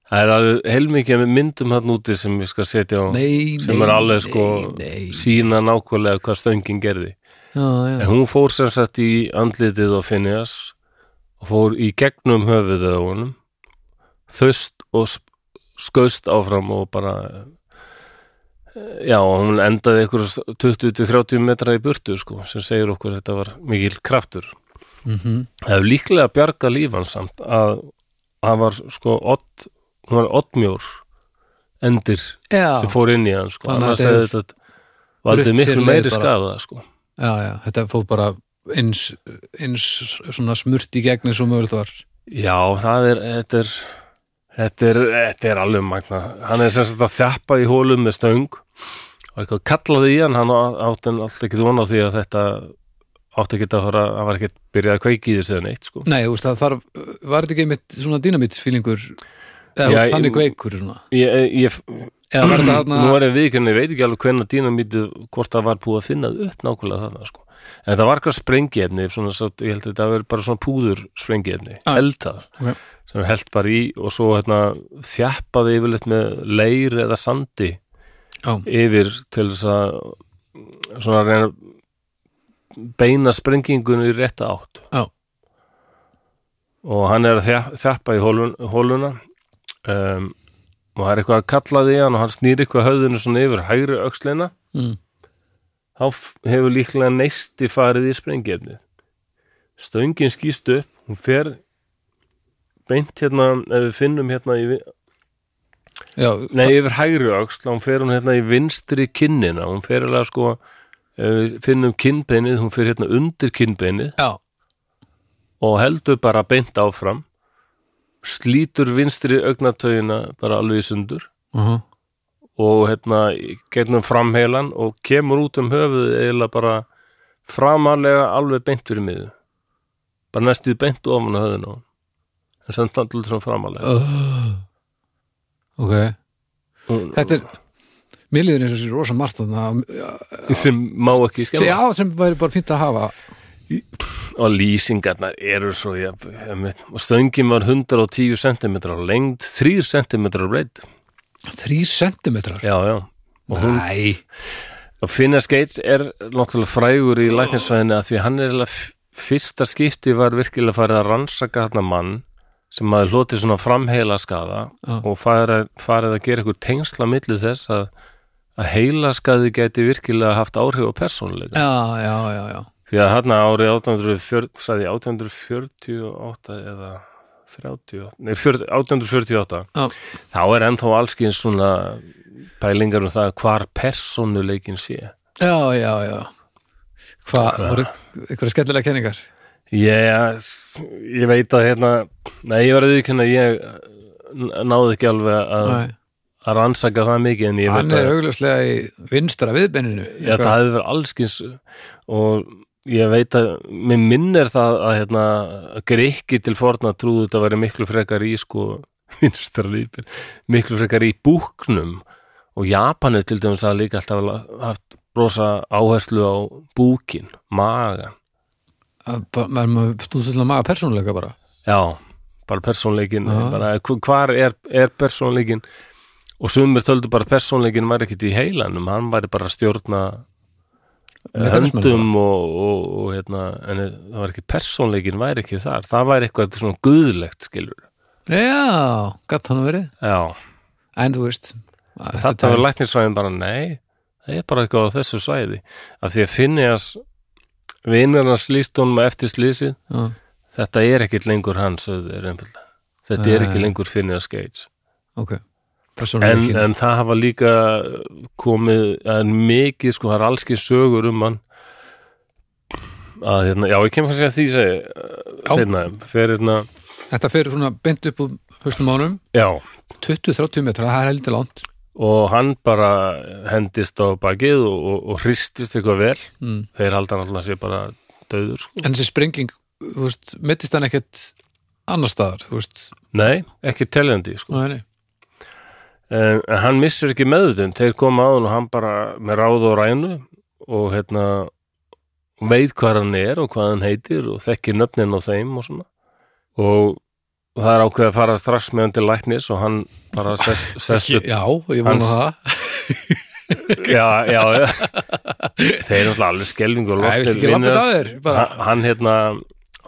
það er alveg heilmikið með myndum hann úti sem ég skal setja á, nei, nei, sem er alveg sko nei, nei. sína nákvæmlega hvað stöngin gerði. Já, já, En hún fór sem sagt í andlitið á Phineas og fór í gegnum höfuðið á honum þaust og sp- skaust áfram og bara eh, já, hún endaði ykkur 20-30 metra í burtu sko, sem segir okkur að þetta var mikil kraftur. mm Það hefur líklega bjarga lífan samt að hann var sko odd, hún var oddmjór endir sem já, fór inn í hann sko, Þannig að annars þetta hefði þetta valdið rutt sér miklu leið meiri bara. skaða sko. já, já, þetta fór bara eins, eins svona smurt í gegni svo mögulegt var Já, það er, þetta er, þetta er, þetta er alveg magna. Hann er sem sagt að þjappa í hólum með stöng og eitthvað kallaði í hann, hann átti hann alltaf ekki von á því að þetta átti ekki að fara, hann var ekki byrjað að kveiki í þessu eða neitt, sko. Nei, þú veist, það þarf, var þetta ekki mitt svona dynamitsfílingur eða þú Já, veist, ég- þannig veikur svona Ég, ég, eða var [CLEARS THROAT] þetta þarna, nú er ég viðkjörni, ég veit ekki alveg hvenna dýnamítið, hvort það var búið að finna upp nákvæmlega þarna, sko. En það var eitthvað sprengiefni, svona, svo, ég held að þetta verið bara svona púður sprengiefni, Ah. eldað, Ok. sem er held bara í og svo hérna, þjappaði yfirleitt með leir eða sandi já, yfir til þess að svona reyna að beina sprengingunni í rétta átt Já. og hann er að þja- þjappa í hólun, hóluna um, og það er eitthvað að kalla því hann og hann snýr eitthvað höfðinu svona yfir hægri öxlina mm, þá f- hefur líklega neisti farið í sprengjefnið stöngin skýst upp hún fer beint hérna ef við finnum hérna í, vi- já, Nei, yfir hægri öxl, hún fer hún hérna í vinstri kinnina, hún fer alveg sko ef við finnum kinnbeinið, hún fer hérna undir kinnbeinið já, og heldur bara beint áfram slítur vinstri augnatögina bara alveg í sundur uh -huh. og hérna í gegnum framheilan og kemur út um höfuð eiginlega bara framarlega alveg beint fyrir miðu bara næstuð beint ofan á höfðinu á honum. en samt alltaf svona framarlega Uh, ok Hún- þetta er, mér líður eins og sér rosa margt þannig sem má ekki skemma já, sem væri bara fínt að hafa og lýsingarnar eru svo ja, ja, og stöngin var 110 cm á lengd, 3 cm á breytt þrý sentimetrar já, já og hún, Æ, og Finneas Gates er náttúrulega frægur í læknisvæðinu að því hann er eiginlega f- fyrsta skipti var virkilega farið að rannsaka þarna mann sem maður hlotið svona framheila skaða Já. og farið, farið að gera ykkur tengsla millu þess að, að heila skaði geti virkilega haft áhrif á persónuleika já, já, já, já Því að hérna árið 1840, sagði ég 1848 eða 30, nei 40, 1848, Já. þá er ennþá allskins svona pælingar um það hvar persónuleikin sé. já, já, já hvað, Hvað? voru einhverja skellilega kenningar Ég, ég veit að hérna, nei ég var að viðkynna, ég n- náði ekki alveg að, Nei, að rannsaka það mikið en ég hann veit er sko. að augljóslega í vinstra viðbenninu Já, það hefur verið allskins og ég veit að mér minnir það að hérna, greikki til forna trúðu þetta væri miklu frekar í sko [LAUGHS] vinstra lífin, miklu frekar í búknum og Japanir til dæmis að líka alltaf la- haft rosa áherslu á búkin, magan maður maður stúðsvöldlega maga persónuleika bara já, bara persónleikin Já. bara, hv- hvar er, er persónleikin og sumir töldu bara persónleikin væri ekkit í heilanum, hann væri bara að stjórna eh, Mekanismanum höndum og, og, og hérna, en það var ekki persónleikin væri ekki þar, það væri eitthvað svona guðlegt skilur, já, gatt hann að verið já en þú veist að þetta var læknisvæðin bara nei það er bara eitthvað á þessu svæði af því að finni að vinnarnas líst honum eftir slísið já, þetta er ekkit lengur hans þetta er, einfaldlega. þetta er ekki lengur finni að skeits ok en, persónuleikin en það hafa líka komið en mikið sko, það er allski sögur um hann að hérna, já, ég kem kannski að því Já. segi seinna, fyrir hérna Þetta fyrir svona beint upp úr höstum mánum já, 20-30 metra, það er heldur langt og hann bara hendist á bakið og, og, og hristist eitthvað vel mm. þeir halda hann alltaf sér bara döður sko. En þessi sprenging, þú veist, mittist hann ekkert annar staðar, þú veist nei, ekki teljandi sko. Nei, nei. en, Eh, en hann missir ekki meðutund þeir koma á hann og hann bara með ráð og rænu og hérna veit hvað hann er og hvað hann heitir og þekkir nöfnin á þeim og svona og það er ákveð að fara strax með hann til læknis og hann bara [LAUGHS] sest, sest upp Já, ég vona Hans- það já, já, já. þeir eru alltaf alveg skelvingu og Nei, viltu losnir ekki labba vinir þetta að hans. þér? Bara- Hann- hann hérna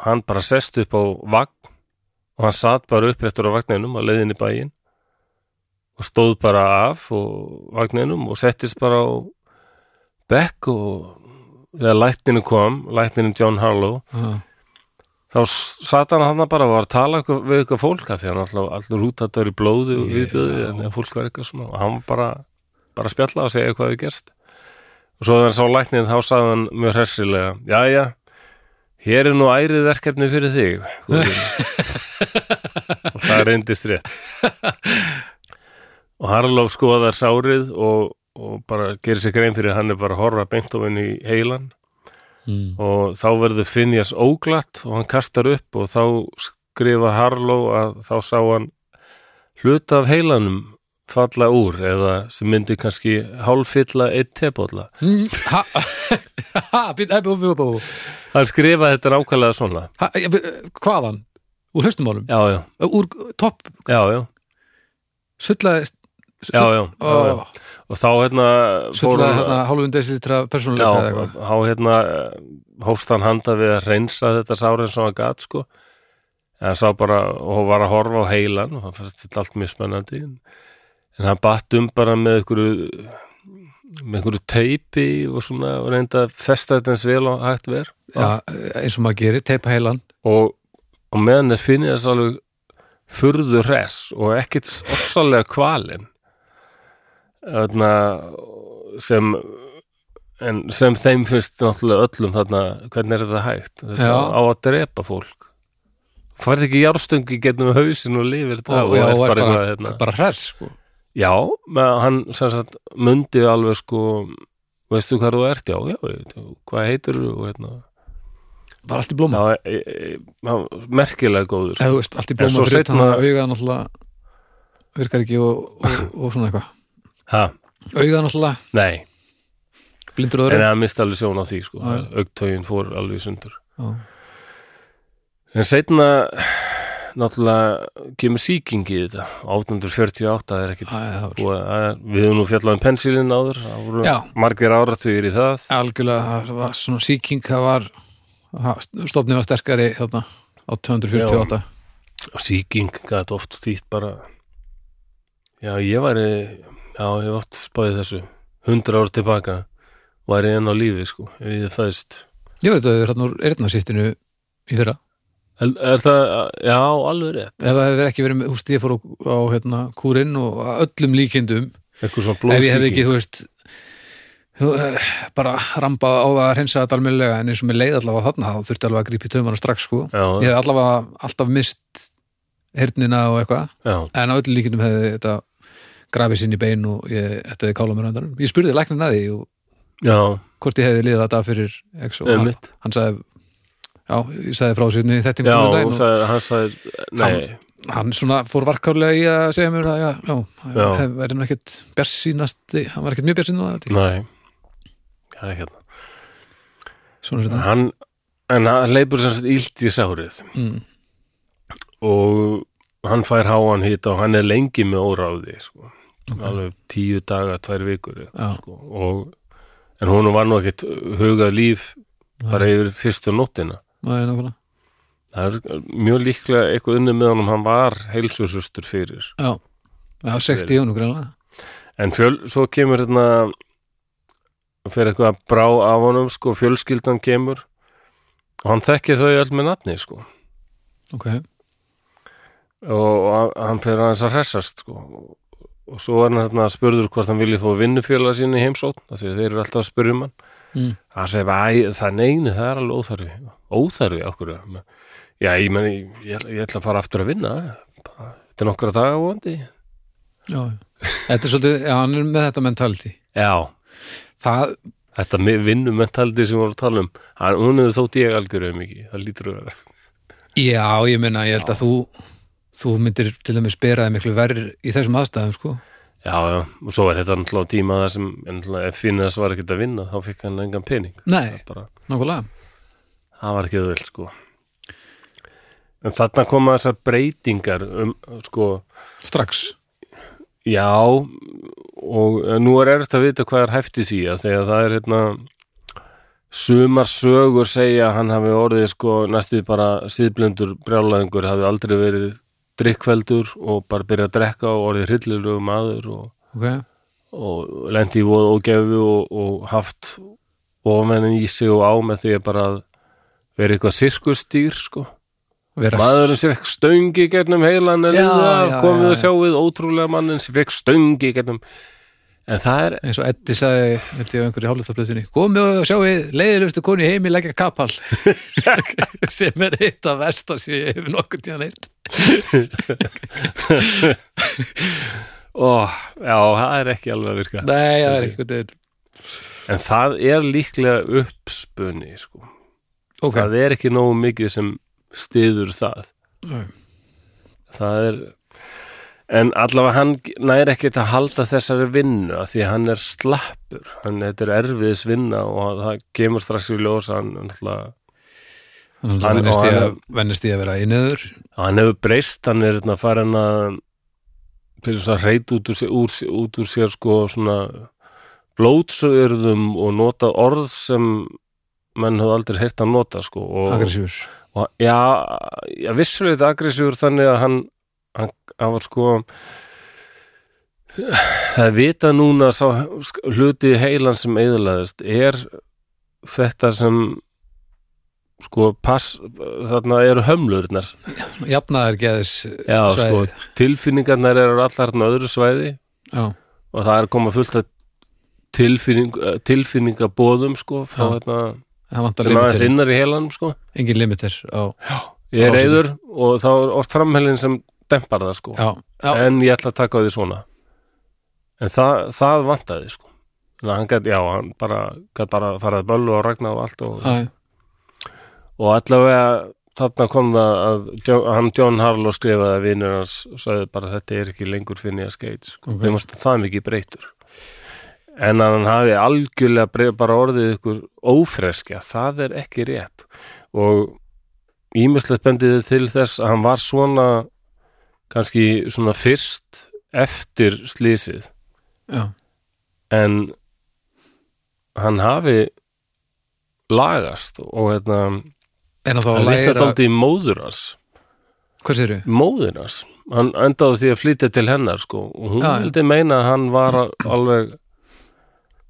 hann bara sest upp á vagn og hann satt bara upp eftir á vagninum að leiðin í bæinn og stóð bara af og vagninum og settist bara á bekk og þegar lækninu kom, lækninu John Harlow Já, þá s- sat hann hann bara og var að tala eitthvað- við eitthvað fólk af því hann alltaf allur útættur í blóði og Já. viðbjöði þannig að fólk var eitthvað svona og hann var bara, bara að spjalla og segja hvað við gerst og svo þegar hann sá læknin þá sagði hann mjög hressilega jæja, hér er nú ærið verkefni fyrir þig góði vinur." og það reyndist rétt og Harlof skoðar sárið og, og bara gerir sér grein fyrir að hann er bara að horfa beint á henni í heilan mm. og þá verður Finjas óglatt og hann kastar upp og þá skrifa Harlow að þá sá hann hluta af heilanum falla úr eða sem myndi kannski hálfylla eitt tebólla. Mm, Ha, [LAUGHS] ha, být, hei, bú, bú, bú Hann skrifaði þetta nákvæmlega svona. ha, ég- Hvaðan? Úr höstum mánum? Já, já, Úr topp, já, já, sullaði já, já, já, já. Ó, Og þá hérna fór Sullaði hann hérna hálfum desilitra Já, persónuleika eða eitthvað há hérna eh, hófst hann handa við að reynsa þetta sár eins og hann gat sko en hann sá bara og hún var að horfa á heilan og hann fannst þetta allt mjög spennandi en hann batt um bara með einhverju með einhverju teipi og svona og reynda að festa þetta eins vel og hægt ver Já, eins og maður gerir, teipa heilan og, og meðan er finnið þess alveg furðu hress og ekkit ofsalega kvalin þarna sem en sem þeim finnst náttúrulega öllum þarna, hvernig er þetta hægt þetta Já. á að drepa fólk færð ekki járstöng í getnum hausin og lifir þetta og, og, og er bara, eitthvað, bara, hérna. hress sko. já, með, hann sem sagt mundi alveg sko veistu hvað þú ert, já, já, ég veit, hvað heitir og hérna bara allt í blóma já, e, e, hann var merkilega góður eða þú veist, allt í En svo blóma fyrir seinna- þannig að augað náttúrulega virkar ekki og, og, og svona eitthvað ha, augað náttúrulega, nei, blindur en öðru hann misti alveg sjón á því sko, Já. augtögin fór alveg í sundur Já. En seinna náttúrulega kemur sýking í þetta 1848 það er ekkit Æ, það var og það er- við höfum nú fjallað um pensilin áður það voru Já. margir áratugir í það algjörlega, það var svona sýking það var, stofnið var sterkari hérna þarna á 248 og sýking gæti oft þýtt bara já ég væri já ég hef oft spáðið þessu 100 ár tilbaka væri enn á lífi sko ef ég fæðist ég verið döður hérna úr eyrnarsýttinu í fyrra er, er það, já alveg rétt ef það hefði ekki verið með, þú veist, ég fór á, á hérna, kúrinn og að öllum líkindum eitthvað svona ef ég hefði ekki, blóðsýking þú veist þú, eh, bara rambað á það að reynsa þetta almennilega en eins og mér leið allavega þarna þá þurfti alveg að grípa í taumana strax sko ég já, hefði allavega alltaf mist hernina og eitthvað já, en á öllum líkindum hefði þetta grafið sinni í bein og ég, þetta hefði kálað mér á endanum ég spurði læknin að því og já, hvort ég hefði liðið þetta af fyrir X og hann, ömmit hann sagði já, ég sagði frá sérni þetta já, einhvern um og veginn og sagði, hann sagði nei, hann svona fór varkárlega í að segja mér að já, já, Já. já. verið hann ekkit bjarsýnast hann var ekkit mjög bjarsýnast nei það er ekki hérna svona er þetta hann, en hann leipur sem sagt illt í sárið mm. og hann fær háan hita og hann er lengi með óráði sko. alveg tíu daga, tvær vikur Já. sko. og en hún var nú ekkit hugað líf bara yfir fyrstu nóttina Nei, nákvæmlega. það er mjög líklega eitthvað unni með honum hann var heilsusustur fyrir Já, já sekt í honum greinlega en fjöl, svo kemur hérna fyrir eitthvað að brá af honum sko, fjölskyldan kemur og hann þekkir þau öll með nafni sko Ok, og hann- hann fyrir aðeins að hressast sko. og svo er hann hérna spurður hvort hann vilji fá vinnufélag sín í heimsótt af því að þeir eru alltaf að spurja um hann Mm. hann segir bara, "Æ, það er neini, það er alveg óþarfi óþarfi, okkur já, ég meni, ég, ætla- ég ætla að fara aftur að vinna bara, þetta er nokkra daga vondi já, já. Þetta er svolítið, já, hann er með þetta mentality já, Það, þetta vinnumentaldi sem við vorum að tala um hann, hún hefur þótt ég algjörum ekki það lítur að vera já, ég meina, ég held að þú þú myndir til dæmis beraði miklu verri í þessum aðstæðum, sko já, já, og svo er þetta náttúrulega á tíma þar sem náttúrulega, ef Finnes var ekkert að vinna þá fekk hann engan pening Nei, bara, nákvæmlega það var ekki auðvöld sko en þarna koma þessar breytingar um, sko, Strax, já og eh, nú er erft að vita hvað er hæft í því að þegar það er hérna sumar sögur segja að hann hafi orðið sko næstuð bara síðblendur brjálæðingur, hafi aldrei verið drikkveldur og bara byrjað að drekka og orðið hryllilegu maður og, ok og lendi í voð og gefu og, og haft ofmennin í sig og á með því að bara vera eitthvað sirkustýr sko Vera Maðurinn sem fekk stöngi gegnum heilan er Já, liða, já, kom já, við að sjá við ótrúlega mannin sem fekk stöngi gegnum en það er, eins og Eddi sagði, held ég á einhverju hálfutablöðinni komið og sjáið, leiðilustu konu í heimi leggja [LAUGHS] kapal sem er eitt af versta sem ég hef nokkuð tíðan eitt ó, já, það er ekki alveg að virka Nei, það er einhvern veginn en það er líklega uppspunni sko. Ok, það er ekki nógu mikið sem stiður það Nei. það er en allavega hann næri ekkert að halda þessari vinnu af því að hann er slappur hann, þetta er erfiðis vinna og það kemur strax í ljós að hann, náttúrulega- hann Hann- vennist og í að, hann- vennist í að vera einöður hann hefur breyst hann er hérna farin að til þess að reyta út úr sér, úr, sér- út úr sér sko svona blótsöðurðum og nota orð sem menn hefur aldrei heyrt að nota sko og, agressífur og já, já vissulega agressífur þannig að hann, hann, hann var sko það er vita núna sá hluti heilan sem eðlaðist er þetta sem sko pass, þarna eru hömlurnar jafnaðar geðis já, sko, svæðið. tilfinningarnar eru allar þarna á öðru svæði já, og það er koma fullt af tilfinning, eh, tilfinningabóðum sko, frá Já. þarna það vantar sem aðeins limiter innar í helanum sko engin limiter á, ég er Ásetning. reyður og þá er oft framhelin sem dempar það sko já, já, en ég ætla að taka á því svona en það, það vantaði sko en hann gæti, já, hann bara gæti bara að fara að böllu og ragna og allt og, já, og allavega þarna kom það að John, hann John Harlow skrifaði að vinur hans og sagði bara þetta er ekki lengur finni að skeit sko. Ok. okay. þeim varst það mikið breytur en að hann hafi algjörlega brey- bara orðið ykkur ófreskja það er ekki rétt og ímislegt bendiði til þess að hann var svona kannski svona fyrst eftir slísið já, en hann hafi lagast og hérna en að þá hann að líka læra dálítið í móður hans hvað séru? móður hans, hann endaði á því að flytja til hennar sko og hún Já, já. vildi meina að hann [CLEARS THROAT] var alveg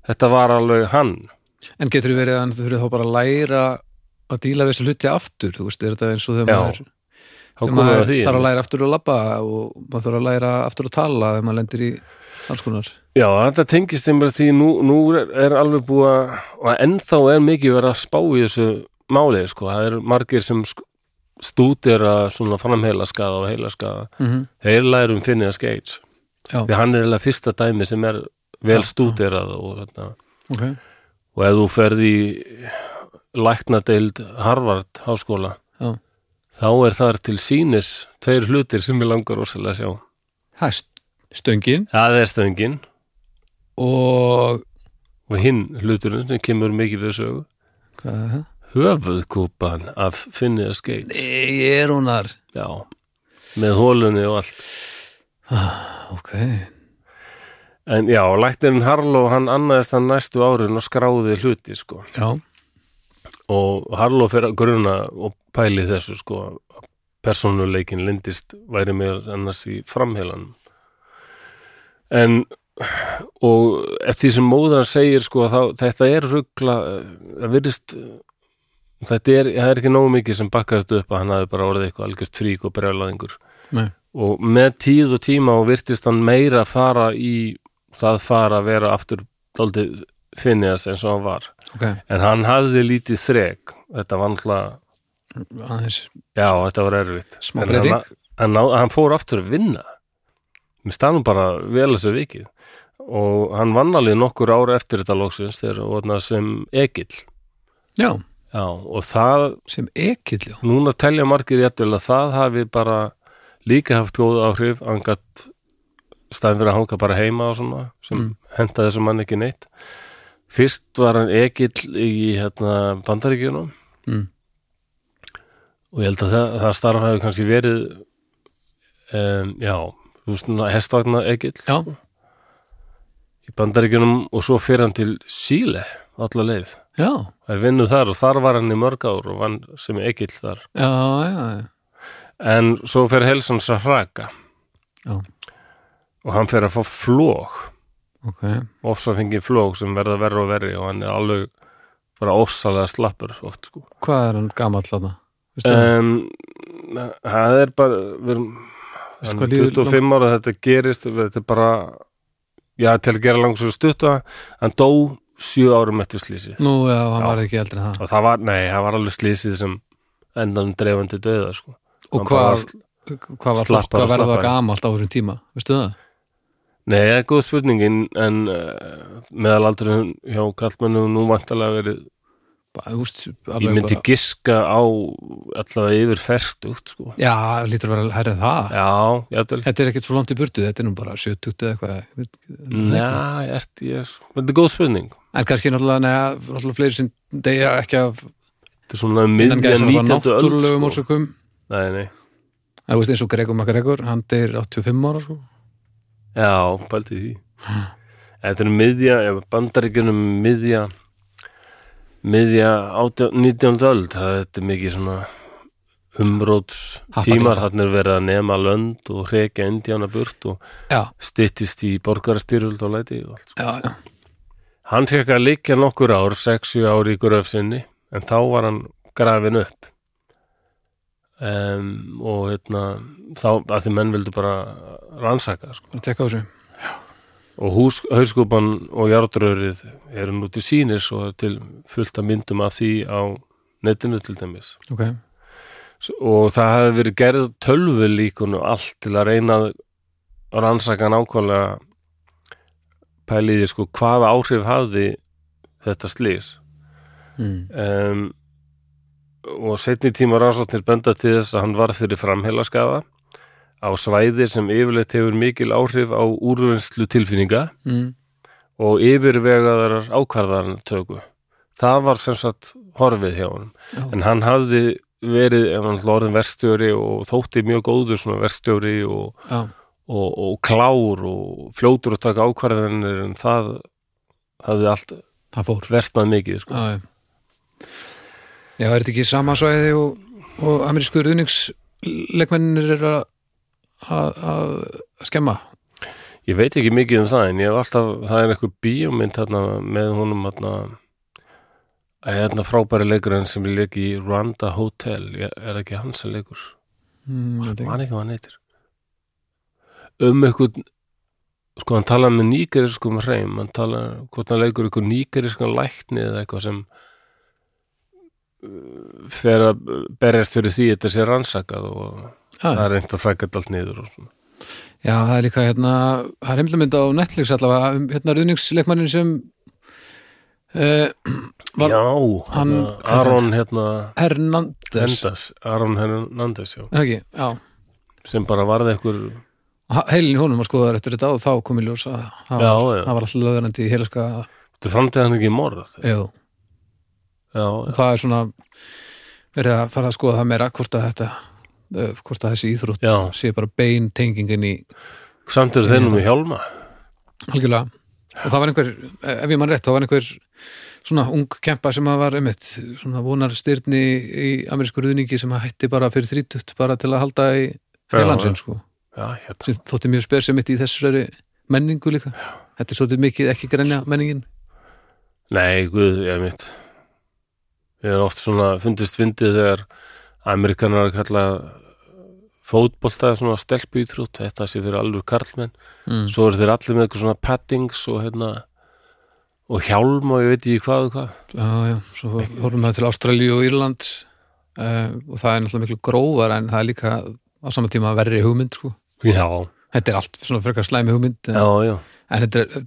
þetta var alveg hann En getur þú verið að þú þurfið þá bara að læra að díla við þessu hluti aftur, þú veist, er þetta eins og þegar Já, maður, þá þegar komum við maður að því þarf að læra aftur að labba og maður þarf að læra aftur að tala þegar maður lendir í alls konar. já, þetta tengist þeim bara því nú, nú er, er alveg búið að og ennþá er mikið verið að spá í þessu máli sko, það er margir sem sk- stúdera svona framheila skaða og heila skaða Mm þeir lærum finnið að skeits Já. því hann er eiginlega fyrsta dæmi sem er vel Já, já. stúderað og, þetta. Ok, og ef þú ferð í læknadeild Harvard háskóla já. þá er þar til sínis tveir hlutir sem ég langar rosalega að sjá Það er st- stöngin það er stöngin og og hinn hluturinn sem kemur mikið við sögu hvað er það? höfuðkúpan af finnið að skeits Nei, er húnar. já, með hólunni og allt Ok, en já, læknirinn Harlow hann annaðist hann næstu árin og skráði hluti sko já, og Harlow fyrir að gruna og pæli í þessu sko að persónuleikin lindist væri mér annars í framhelan en og eftir því sem móður hann segir sko þá, þetta er ruggla það virðist þetta er, það er ekki nógu mikið sem bakkar þetta upp að hann hafi bara orðið eitthvað algjört frík og brjálaðingur nei, og með tíð og tíma og virtist hann meira fara í það fara að vera aftur daldið finniðast eins og hann var ok, En hann hafði lítið þrek, þetta var náttúrulega, aðeins, já, þetta var erfitt. Smá En breyting. Hann, hann, ná- hann fór aftur að vinna. Mér stannum bara vel þessu vikið. Og hann vann alveg nokkur ára eftir þetta loksins þegar orðna sem ekill. já, Já, og það, sem ekill, já, núna telja margir jættul að það hafi bara líka haft góð áhrif, hann gatt staðin fyrir að hanga bara heima og svona, sem Mm. henda þessum mann ekki neitt. Fyrst var hann ekill í hérna, bandaríkjunum mm. og ég held að það, það starf hefur kannski verið um, já, þú veist, svona hestvagna ekkil já, í bandaríkjunum og svo fyrir hann til Síle allar leið, já, það er vinnu þar og þar var hann í mörg ár og vann sem ekkil þar já, já, já, en svo fer helsans að hraka Já. og hann fer að fá flóg ok, ofsafengi flóg sem verða verra og verri og hann er alveg bara ofsalega slappur oft sko hvað er hann gamall þarna? Veistu það? um, það er bara við erum Veistu hann hvað er Sko, líður 25 ára þetta gerist þetta er bara já, til að gera langs og stutta hann dó 7 árum eftir slísi Nú, já, hann Já. var ekki eldri en það. og það var, nei, það var alveg slísið sem endanum dreifandi döða sko. Og Hann bara hvað, sl- hvað var fólk slappara og að verða slappara. gamalt á þessum tíma? Veistu það? nei, það er góð spurningin en uh, meðal aldur hjá kallmennu nú vantalega verið Bara, þú veist, ég alveg myndi bara... giska á allavega yfir ferstugt sko. Já, lítur að vera herrið það. já, jætvel Þetta er ekkert svo langt í burtu, þetta er nú bara 70 eða eitthvað. Næ, ert ég sko. þetta er góð spurning En kannski náttúrulega, neða, náttúrulega fleiri sem deyja ekki af Þetta er svona innan miðja gæsa 19. öll náttúrulegum sko. orsökum. Nei, nei, Það veist eins og Gregor McGregor, hann deyr 85 ára, sko. já, bælti því Þetta er miðja, ef bandaríkjunum miðja miðja átjá- 19. öld það þetta er mikið svona umróts tímar, Happagata. þannig er verið að nema lönd og hrekja indjána burt og Já, styttist í borgarastyrjöld og læti og allt. sko. já, já. Hann fekk að liggja nokkur ár, 60 ári í gröf sinni, en þá var hann grafin upp um, og hérna þá að því menn vildu bara rannsaka sko. að tekka á þessu og hús, hauskúpan og járdraurið eru nú til sínis og til fullt af myndum af því á netinu til dæmis ok, S- og það hefði verið gerð tölvulíkun og allt til að reyna að rannsaka nákvæmlega pæliði sko hvaða áhrif hafði þetta slís mm. um, og setni tíma rannsóknir benda til þess að hann varð fyrir framheilaskaða á svæði sem yfirleitt hefur mikil áhrif á úrvinnslu tilfinninga Mm. og yfirvegaðar ákvarðarinn töku. Það var sem sagt horfið hjá honum. Já. En hann hafði verið, ef hann lorðin verstjóri og þótti mjög góður svona verstjóri og, já, og, og klár og fljótur að taka ákvarðanir en það hafði allt það fór verstnað mikið sko. já, já já, er þetta ekki sama svæði og, og amerísku ruðningsleikmennir eru að- að að skemma Ég veit ekki mikið um það en ég hef alltaf, það er eitthvað bíómynd hérna, með honum hérna, að hérna frábæri leikurinn sem ég leik í Rwanda Hotel, ég, er það ekki hans sem leikur? mm, ég veit ekki. Man ekki hvað hann heitir. Um eitthvað, sko hann talaði með nýgeriskum hreim, hann talaði hvort hann leikur eitthvað nýgeriskan lækni eða eitthvað sem uh, fer að berjast fyrir því þetta sé rannsakað og Já, það já. er reynt að þakka þetta allt niður og svona. Ah, já, það er líka hérna það er heimlamynd á Netflix allavega um, hérna ruðningsleikmennin sem uh, Var- Já, hann- hann, hvað heitir Aron hérna Hernandez Hendas, Aron Hernandez já, Er það ekki, já sem bara varði einhver Ha- heilin í honum var skoðaður eftir þetta og þá kom í ljós að það já, var, já, það var alltaf löðurandi í heilaska þetta framtíð hann ekki í morð já, já, já, það er svona verið að fara að skoða það meira hvort að þetta eh, hvort að þessi íþrótt Já. sé bara bein tengingin í samt eru þeir nú með hjálma algjörlega og það var einhver, eh, ef ég mann rétt, það var einhver svona ung kempa sem að var einmitt, svona vonar styrni í amerísku ruðningi sem að hætti bara fyrir þrítutt bara til að halda í Já, heilansinn sko, já, hérna, sem þótti mjög spyr sem mitt í þessari menningu líka þetta er svolítið mikið ekki grenja menningin nei, guð, ég mitt ég er oft svona fundist fyndið þegar Amerikanar að kalla fótbolta svona stelpu ítrútt, þetta sé fyrir alveg karlmenn mm. svo eru þeir allir með eitthvað svona paddings og hérna og hjálma, ég veit ekki hvað og hvað Já, já, svo horfum við til Ástralíu og Írland uh, og það er náttúrulega miklu grófar en það er líka á sama tíma verri hugmynd sko. já, Þetta er allt svona frekar slæmi hugmynd en, já, já en þetta er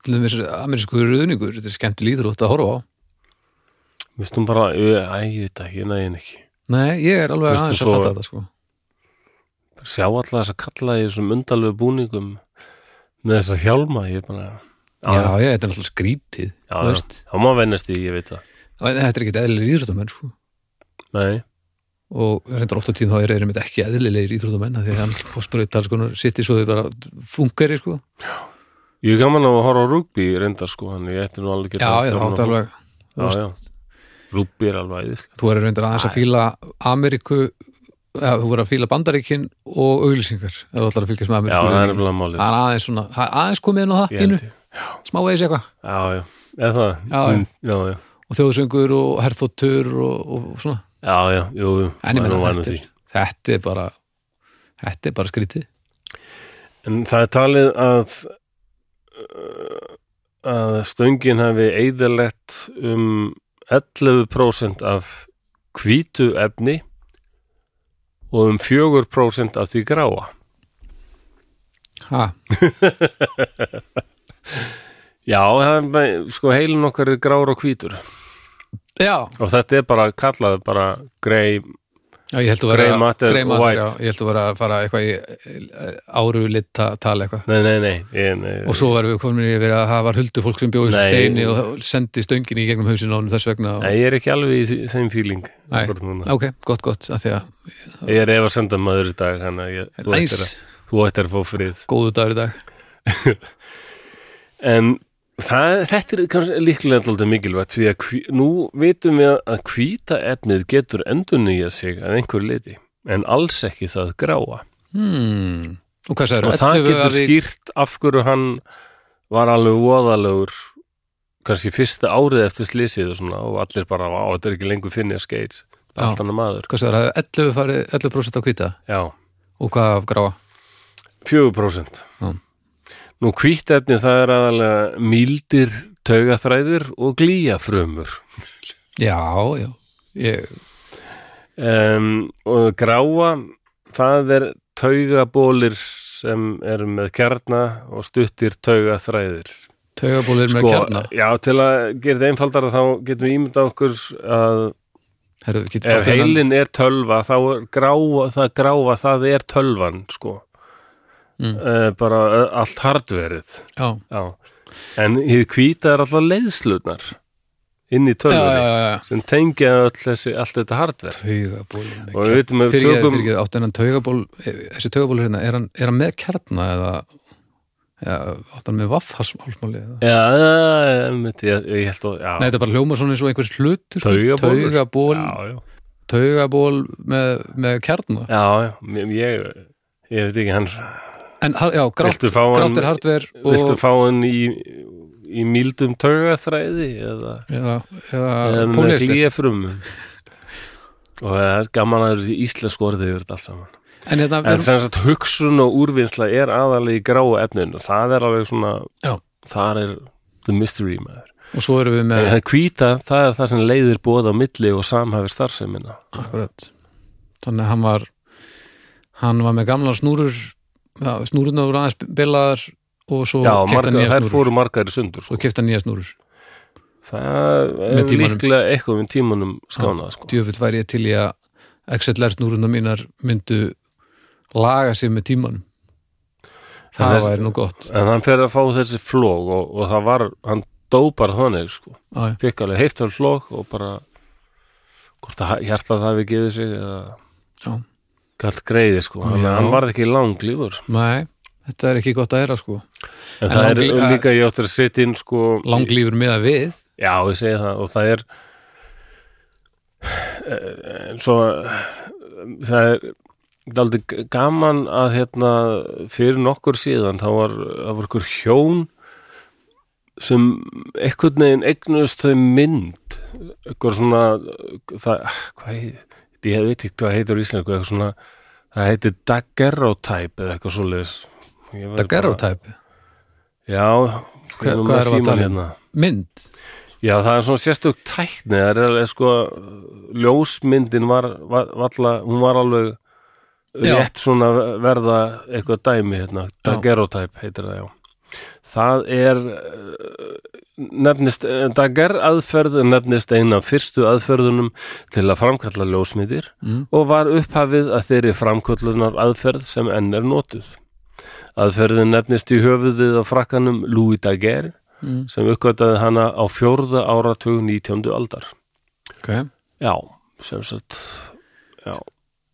til dæmis amerísku ruðningur, þetta er skemmtileg íþrótt að horfa á Vistum bara, ég, æ, ég veit ekki, ég nægin ekki Nei, ég er alveg Veistu aðeins að svo- fatta þetta sko. sjá alltaf þess að kalla í þessum undalegu búningum með þess að hjálma ég bara, Já, ég, þetta er náttúrulega skrítið já, þú já. veist. þá má vennast í, ég veit það En Þetta er ekkit eðlilegir íþróttamenn sko. nei, og reyndar ofta tíðum þá er erum þetta ekki eðlilegir íþróttamenn af því að hann fórsprauta alls konar sko, sitt í svo þau bara fungeri sko. ég er gaman að horfa á rúgbi reyndar sko, hann ég ætti nú alveg Já, geta ég gaman þátt að- alveg þú veist. já, já, rúgbi er alveg æðislega þú eru reyndar aðeins að fíla Ameríku eða þú voru að fíla Bandaríkin og auglýsingar ef þú ætlar að fylgjast með Ameríku já, það er auglýsingum. nefnilega málið það er aðeins svona, það er aðeins komið inn á það Ah, Ég pínu, held ég. smá eðis eitthvað já, já, eða það Já, já. Mm, já, já, og þjóðsöngur og herþóttur og, og svona, já, já, jú, jú en ég maður er nú meina vanur þetta því. er, þetta er bara þetta er bara skrítið En það er talið að uh, að stöngin hafi eðalett um 11% af hvítu efni og um 4% af því gráa. ha, Já, það er bara- sko heilin okkar er gráur og hvítur já, og þetta er bara kallað bara grey, já, ég held að vera Grey matter, grey white. já, ég held að vera að fara eitthvað í eh, áru lit tala eitthvað nei, nei, nei, ég, nei og svo verðum við komin yfir að það var huldufólk sem bjóði sem Nei. steini og sendi stöngin í gegnum hausinn á hann þess vegna og... Nei, ég er ekki alveg í því- þeim feeling Nei. akkúrat núna. ok, gott, gott, að því að Ég er ef að senda maður í dag þannig að ég, þú Læs, ættir að, þú ættir að fá frið góðu dagur í dag En það, þetta er kannski líklega alltaf mikilvægt því að hví, nú vitum við að hvíta efnið getur endurnýjað sig að einhverju leiti en alls ekki það gráa hmm. Og hvað sagður? og það getur skýrt af hverju hann var alveg voðalegur kannski fyrsta árið eftir slysið og svona og allir bara, á, þetta er ekki lengur Phineas Gates Já. allt annar maður Hvað svo, það hefði 11, farið, 11% á hvita já, og hvað af gráa? 4% Já. nú kvítefni það er aðalega mildir taugaþræðir og glíafrumur Já, já, ég, um, og gráa það er taugabólir sem er með kjarna og stuttir taugaþræðir Sko, taugabólir með kjarna já, til að gera þetta einfaldara þá getum við ímynda okkur að Herru, við getum ef átt þennan- heilin er tölva þá er gráa það, gráa, það er tölvan sko Mm. Eh, bara eh, allt hardverið Já, já. en hið hvíta er alltaf leiðslunar inn í já, já, tölvunni já, já. sem tengja öll þessi, allt þetta hardver Taugabólir með og við veitum að við fyrir tökum tökum... ekki átt hennan taugaból þessi taugaból hérna, er hann, er hann með kjarna eða, eða átt hann með vaffhásmálsmáli eða? já, já, einmitt, ég, ég held að Nei, já, þetta er bara hljóma svona eins og einhvers hlutur sko. Taugabolur. taugaból, já, já, taugaból með, með kjarna já, já mér- ég, ég veit ekki hann en har- já, grátt, viltu fá hann, grátt er hardver viltu og fá hann í, í mildum taugaþræði eða eða, eða eða með póliðistir glíðafrum og það er gaman að þessi íslensku orðið yfir þetta allt saman en hérna, en er, sem sagt hugsun og úrvinnsla er aðalegi gráu efnin og það er alveg svona Já. Eh. þar er the mystery maður og svo erum við en með það hvíta, það er það sem leiðir bóð á milli og samhæfir starfsemina akkurat, þannig að hann var hann var með gamla snúrur já, snúrurnar voru aðeins bilaðar og svo já, kefta margar, nýja þær snúrur fóru margar í sundur svo sko. kefta nýja snúrur það Með er tímanum. líklega eitthvað með tímanum skánað sko. djöfull væri ég til í að XLR snúruna mínar myndu laga sig með tímanum það En þess- væri nú gott en hann fer að fá þessi flóg og, og það var, hann dó bara þannig sko. Á, já. fekk alveg heiftar flokk og bara hvort að hjartað hafi gefið sig eða Já. galt greiði sko, hann, Já. hann varð ekki langlífur Nei, þetta er ekki gott að era sko en, það er um langlí- að- líka ég áttur að setja inn sko langlífur með að við já ég segi það og það er eh, eins og það er daldi gaman að hérna fyrir nokkur síðan þá var, það var ykkur hjón sem einhvern veginn eignust þau mynd eitthvað svona það, hvað heit, ég veit ekki hvað heitur í íslensku eitthvað svona, það heitir daguerreotype eða eitthvað svoleiðis Ég væri bara- daguerreotype, Já, Hva- ég er hvað með erum við að símann hérna. tala um? mynd Já, það er svona sérstök tækni það er alveg sko ljósmyndin var, var, var hún var alveg Já. rétt svona verða eitthvað dæmi hérna, Já. daguerreotype heitir það, já Það er eh, nefnist, dager aðferð nefnist eina af fyrstu aðferðunum til að framkalla ljósmyndir Mm. og var upphafið að þeirri framkallunar aðferð sem enn er notuð. Aðferðin nefnist í höfuðið á frakkanum Louis Daguerre Mm. sem uppgötaði hana á fjórða áratug 19. aldar. okay. Já, sem sagt já,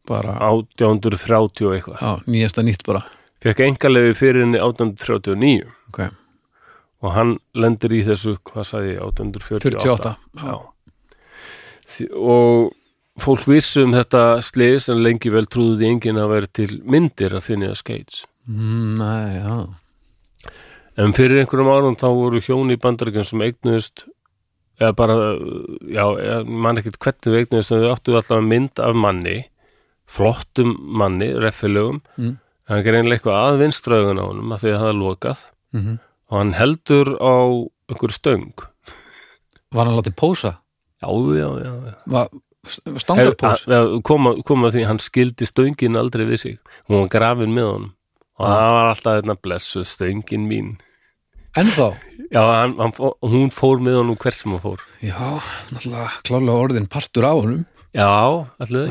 bara, 1830 og eitthvað. á, nýjasta nýtt bara Fekk engalegi fyrir henni 1839 okay. og hann lendir í þessu, hvað sagði ég, 1848. 48 Já. Því- Og fólk vissu um þetta slis en lengi vel trúðu því enginn að vera til myndir að finna skeits. Mm, Nei, já. En fyrir einhverjum árum þá voru hjón í bandaríkjum sem eignuðist eða bara, já, ég man ekkert hvernig við eignuðist en þau áttu allavega mynd af manni flottum manni, reffilegum Mm. en hann er einlega eitthvað aðvinströðun á honum að því að það er lokað Mm og hann heldur á einhver stöng var hann látið pósa Já, já, já, já. var, Hef, stangarpós að, að, koma, koma því, hann skildi stöngin aldrei við sig hún var grafin með honum og það var alltaf þetta blessuð stöngin mín ennþá, Já, hann, hann, fó- hún fór með honum hvert sem hann fór já, náttúrulega klálega orðin partur á honum Já, allir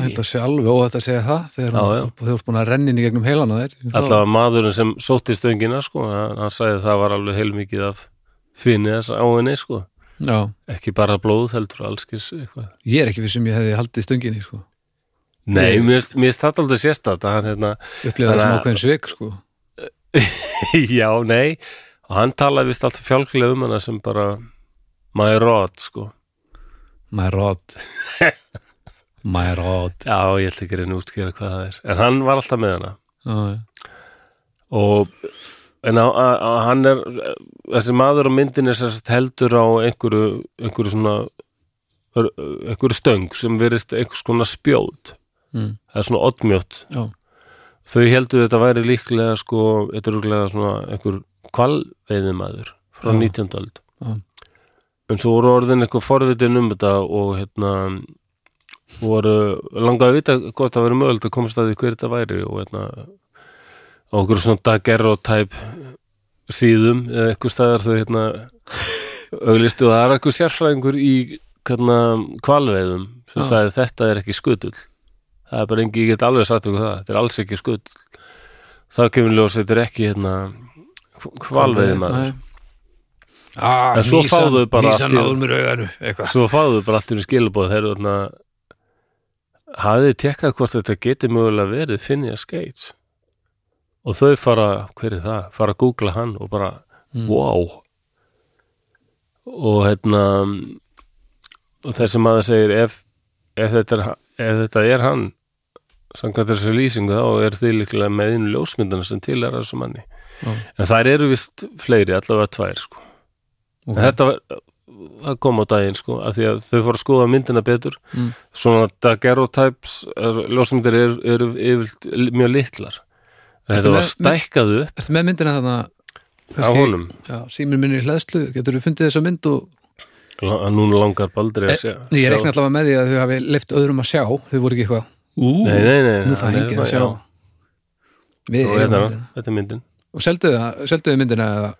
Ég held ekki. að sé alveg óhætt að segja það þegar Já, hún- já. þú ert búin að rennin í gegnum heilana þér Alltaf að maðurinn sem sótti stöngina, sko, hann, hann sagði að það var alveg heilmikið af finni þess á henni, sko. Já, Ekki bara blóð heldur, allskis eitthvað. ég er ekki við sem ég hefði haldið stunginni sko. Nei, mér finnst- mér finnst þetta aldrei sérstætt að hann, hérna, [LAUGHS] upplýða Þannig það sem að- ákveðin svik sko. já, nei, og hann talaði vist alltaf fjálklega um hana sem bara my rod, sko. my rod [LAUGHS] my rod Já, ég ætla ekki að reyna að útskýra hvað það er. En hann var alltaf með hana Já, já. og en á- á- á- hann er þessi maður á myndin er sérst heldur á einhverju, einhverju svona einhverju stöng sem verist einhvers konar spjót mm. það er svona oddmjótt já, þau heldur þetta væri líklega sko, þetta er líklega svona einhver kvalveiðimaður frá Já. 19. öld Já. en svo voru orðin eitthvað forvitin um þetta og hérna voru langaði að vita hvort það verið mögulegt að komast að því hver þetta væri og hérna á okkur svona daguerreotype síðum eða eitthvað staðar þau hérna [LAUGHS] auglistu og það er eitthvað sérfræðingur í hérna, kvalveiðum sem Já. sagði þetta er ekki skutull það er bara engi, ég get alveg sagt ykkur það þetta er alls ekki skutull það kemur ljós, þetta er ekki hérna kvalveiði maður ah, En svo fáðu þau bara Mísan allt í- náður mér auganu eitthvað svo fáðu bara allt um skilabóð þeir eru þarna hafið þið tekkað hvort þetta geti mögulega verið Finja Skates og þau fara, hver er það, fara að googla hann og bara, Mm. wow og hérna og þessi maður segir ef, ef, þetta, er, ha- ef þetta er hann samkvæmt þessu lýsingu þá er þið líklega með einu ljósmyndana sem til er af þessu manni Já. en þær eru vist fleiri, allavega tvær sko Ok. okay. þetta var, það kom á daginn sko, af því að þau fóru að skoða myndina betur Mm. svona daguerreotypes er- ljósmyndir eru er, er, mjög litlar Ertu þetta var með- stækkað upp Ertu með myndina þarna á kannski- honum Já, símur minni í hlæðslu, getur þú fundið þessa mynd og Lá- að núna langar baldri að sjá Nei, ég sjá- reikna allavega með því að þau hafi leift öðrum að sjá, þau voru ekki eitthvað Ú, nei, nei, nei, nú fæ hann er hengið að þarna, sjá já. Við Og eigum hérna, myndina þetta er myndin Og selduðu það- selduðu myndina eða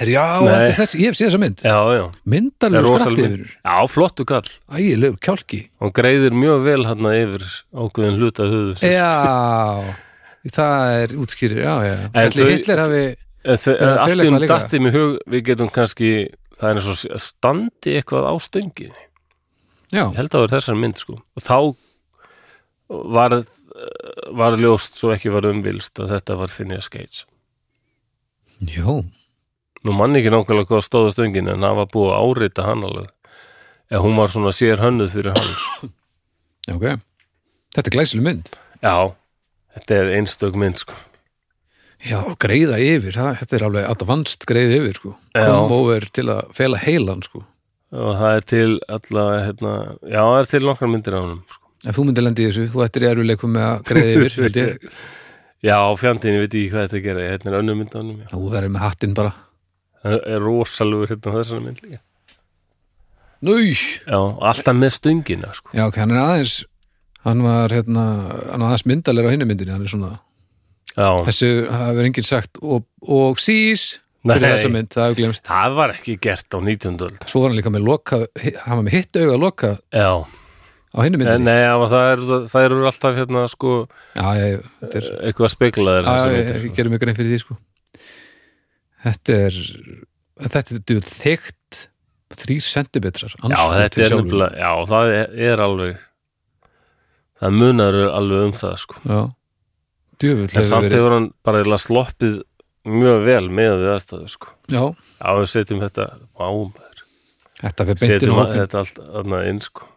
Herri, já, Nei. þetta er þess, ég hef séð þessa mynd já, já, Það er Myndarlegur rosaleg skratti mynd. yfir já, flottu kall Ægilegur, kjálki og greiðir mjög vel hann yfir ákveðin hluta höfuð Já, það er útskýrir, já, já En Ætli þau- Hitler hafi það er allt fjöleikvað um líka. datti með hug við getum kannski, það er eins og standi eitthvað á stönginni Já, Ég held að það var þessar mynd sko og þá var, eh, var ljóst svo ekki var umvilst að þetta var Phineas Cage já, nú mann ekki nákvæmlega hvað stóða stöngin en það var búið að árita hann alveg eða hún var svona sér hönnuð fyrir hann ok Þetta er glæsileg mynd já, þetta er einstök mynd sko Já, greiða yfir, það, þetta er alveg advanced greið yfir, sko Já. Kom over til að fela heilan, sko og það er til alla hérna, já það er til nokkar myndir á hann sko. Ef þú myndir lendi í þessu, þú ættir í erfileikum með að greiða yfir, held [LAUGHS] ég. já, fjandinn, ég veit ekki hvað þetta gera hérna er önnur mynd á hann já. Þú verður með hattinn bara. það er rosalur hérna á þessari mynd líka Núj! já, og alltaf með stöngina sko Já, ok, hann er aðeins, hann var hérna, hann var aðeins myndalir á hinni myndinni, hann er svona, já, þessu hafur enginn sagt og, og sís fyrir Nei. þessa mynd, það hefur glemst. það var ekki gert á 19. öld Svo var hann líka með loka, hann var með hitt auga að loka já á hinni En, myndinni. Eh, nei, já, það eru það eru alltaf hérna sko Já, ég, þetta er, eitthvað að spekla þér já, þessar ég, myndir, ég sko. gerir mig grein fyrir því, sko. Þetta er, en þetta er duð þykkt, þrýr sentimetrar. Já, þetta er nefnilega, já, það er, er alveg það munar alveg um það sko Já, djöfull en samt verið- hefur hann bara eiginlega sloppið mjög vel með við aðstæðu sko Já, Já, við setjum þetta á maður þetta fyrir beintin setjum og að, hópin. þetta allt annað inn sko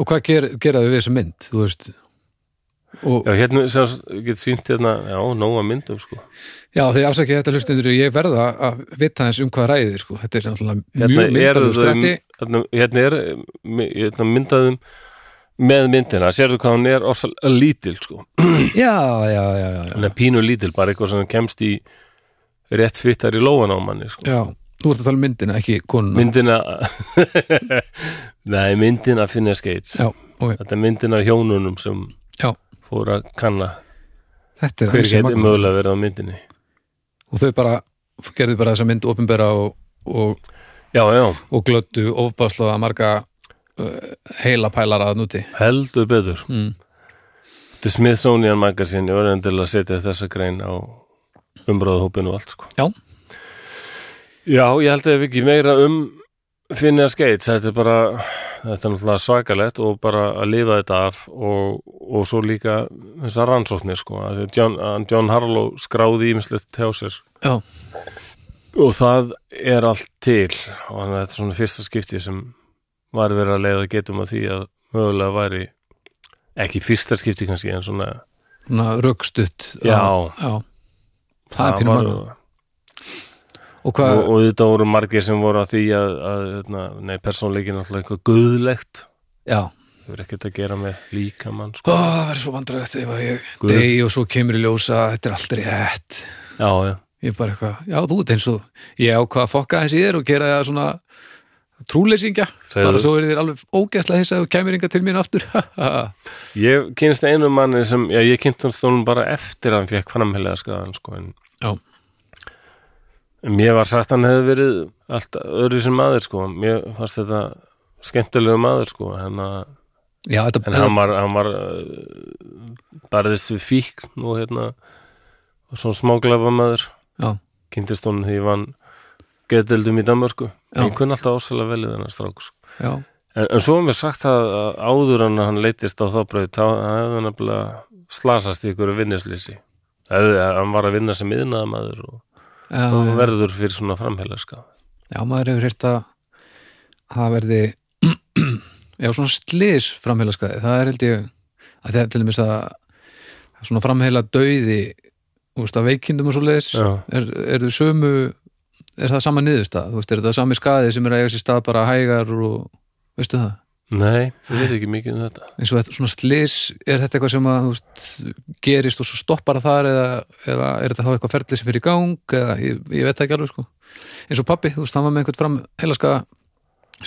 Og hvað ger, geraðu við þessa mynd, þú veist? Og, Já, hérna, sem sagt, ég get sínt hérna já, nóga myndum sko já, þegar afsakið þetta hlustendur ég verða að vita eins um hvað ræðið, sko. Þetta er náttúrulega hérna mjög eru myndarlegur þau skrætti. hérna, hérna er hérna myndaðum með myndina, sérðu hvað hún er orsal lítil sko Já, já, já, já, já. hann er pínu lítil, bara eitthvað sem kemst í rétt fyttar í lóan á manni sko. Já, þú ert að tala um myndina, ekki konuna. myndina [LAUGHS] nei, myndina finna skeits Já, ok, þetta er myndina af hjónunum sem já. fór að kanna Þetta er hver ansi geti magnað. mögulega verið á myndinni Og þau bara, gerðu bara þessa mynd opinbera og, og, já, já, og glöttu ofbáslega marga uh, heila pælara að núti. heldur betur Mm. þetta er Smithsonian Magazine, ég var enn til að setja þessa grein á umbráðahópinu og allt sko Já. já, ég held að ef ekki meira um finna skeits, þetta er bara þetta er náttúrulega svakalett og bara að lifa þetta af og, og svo líka þessar rannsóknir sko að því að John, að John Harlow skráði ímislegt hjá sér Já. og það er allt til og þannig að þetta er svona fyrsta skipti sem var verið að leiða getum að því að mögulega væri ekki fyrsta skipti kannski en svona Svona rökstutt. Já. já. það er pínum var- mann og og, hvað, og þetta voru margir sem voru að því að, að hérna, nei, persónleikin alltaf eitthvað guðlegt já það verður ekkert að gera með líkamann sko. Ó, það verður svo vandræðið ef að ég Guð. degi og svo kemur í ljósa, þetta er aldrei rétt já, já, ég er bara eitthvað, já þú ert eins og ég ákvað að fokka eins í þér og gera það svona trúleysingja Segðu. bara svo verður þér alveg ógeðslega þess að þú kemur inga til mín aftur [LAUGHS] ég kynst einu manni sem, já, ég kynst hans þólum bara eftir að hann fekk framheilega skadaðan sko, en já, mér var sagt að hann hefði verið allt öðru sem maður sko, mér fannst þetta skemmtilegu maður sko, en, að, já þetta en hann var, hann var uh, barðist við fíkn og hérna og svona smáglafa maður já, kynntist honum því ég vann geðdeldum í Danmörku Já. ég kunni alltaf ásælega velið þennan strák sko. já, en, en svo er mér sagt að að áður en að hann leitist á þá brauð þá hann hefði hann nefnilega slasast í ykkur vinnuslýsi hann var að vinna sem yðnaðamaður og, og já, verður fyrir svona framheila skada já maður hefur hýrt að að það verði [CLEARS THROAT] já svona slis framheila skaði, það er held ég að það er til dæmis að að svona framheila dauði úst, að veikindum og svo leiðis Já. er, er þau sömu er það sama niðurstað, þú veist, er það sami skaði sem er að eiga sér stað bara hægar og veistu það, nei, ég veit ekki mikið um þetta eins og þetta, svona slis er þetta eitthvað sem að, þú veist, gerist og svo stoppar það þar eða, eða er þetta þá eitthvað ferli sem fyrir í gang eða ég, ég veit það ekki alveg sko eins og pappi, þú veist, hann var með einhvern fram heilaska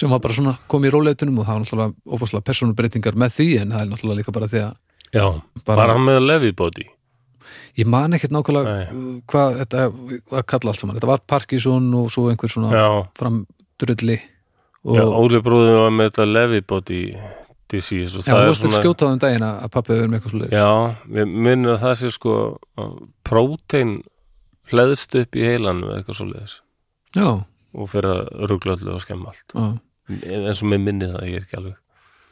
sem var bara svona kom í róleitunum og það var náttúrulega ófáslega persónubreitingar með því en það er náttúrulega líka bara því að já, Bara- bara, hann með að lefi bóti ég man ekkert nákvæmlega uh, hvað þetta hvað kalla allt saman, þetta var Parkinson og svo einhver svona já, framdrulli og já, já, Óli bróðin var með þetta lefi bóti disease já, þú og það er varst ekki svona skjótað um daginn að að pappi hefur með eitthvað svo Já, við minnum að það sé sko prótein hleðst upp í heilanum eða eitthvað svo já, og fyrir að rugla öllu og skemma allt já. en eins og mér minni það, ég er ekki alveg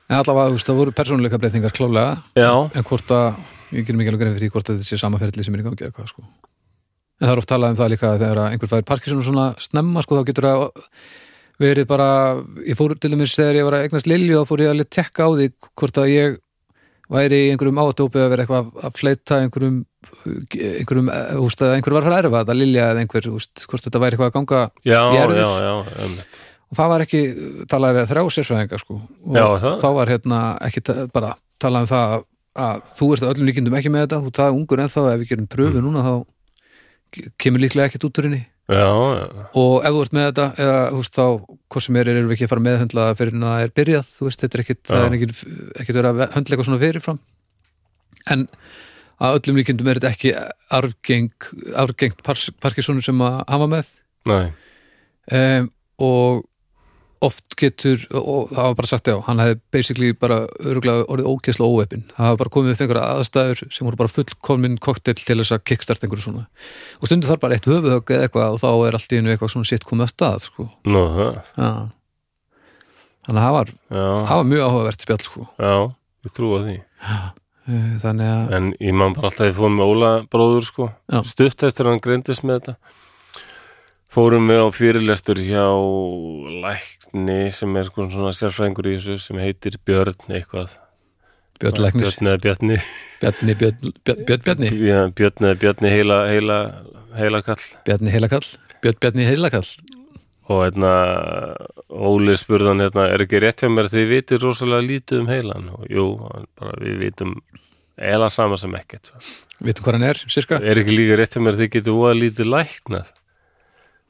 En allavega, þú veist, það voru persónuleika breytingar klálega, Já, en hvort að, ég gerir mikið alveg grein fyrir því hvort að þetta sé sama ferli sem er í gangi eða hvað, sko. En það er oft talað um það líka að þegar að einhver fær Parkinson og svona snemma, sko, þá getur það verið bara, ég fór til dæmis þegar ég var að eignast Lilju, þá fór ég að leta tekka á því hvort að ég væri í einhverjum áatópi að vera eitthvað að- að fleita einhverjum, einhverjum, eh, þú veist, að einhver var að fara að erfa þetta, Lilja eða einhver, þú veist, hvort þetta væri eitthvað að ganga já, Ég já, er við- já, já, einmitt. og það var ekki talaði við þrjá sérfræðinga sko og Já, er það? þá var hérna ekki ta- bara talaði um það að, að þú ert að öllum líkindum ekki með þetta þú það er ungur ennþá ef við gerum pröfu Mm. núna þá ke- kemur líklega ekkert út úr henni já, já, og ef þú ert með þetta eða þú veist þá hvort sem er erum við ekki að fara með höndla fyrir en það er byrjað þú veist þetta er ekkit, það Já. er ekkit, ekkit verið að höndla eitthvað svona fyrirfram en að öllum líkindum er þetta ekki arfgeng, arfgengt parkisónu sem að hafa með nei, um, og oft getur, og það var bara sagt já hann hefði basically bara öruglega orðið ógeðslega óeppin, það hafa bara komið upp einhverja aðstæður sem voru bara fullkominn koktel til þess að kickstart einhverju svona og stundum þarf bara eitt höfuðhögg eða eitthvað og þá er allt í einu eitthvað svona sitt komið að stað sko. nú það ja. þannig að það var, Já, það var mjög áhugavert spjall sko. já, ég trúa því Eh, þannig að en ég man bara alltaf að ég fóð með Óla bróður sko, Já. stutt eftir að hann greindist með þetta fórum við á fyrirlestur hjá lækni sem er sko svona sérfræðingur í þessu sem heitir Björn eitthvað Björn Læknir, Björn eða Björni Bjarni, Björn Björn Björn Bjarni, [LAUGHS] Já, Björn eða Björni heila, heila, heila kall Bjarni Heilakall Björn Bjarni Heilakall og hérna Óli spurðan hérna, er ekki rétt hjá mér því við vitum rosalega lítið um heilan og jú, hann bara við vitum eila sama sem ekkert [LAUGHS] svo. veitum hvað hann er, sirka er ekki líka rétt hjá mér því getur voða lítið læknað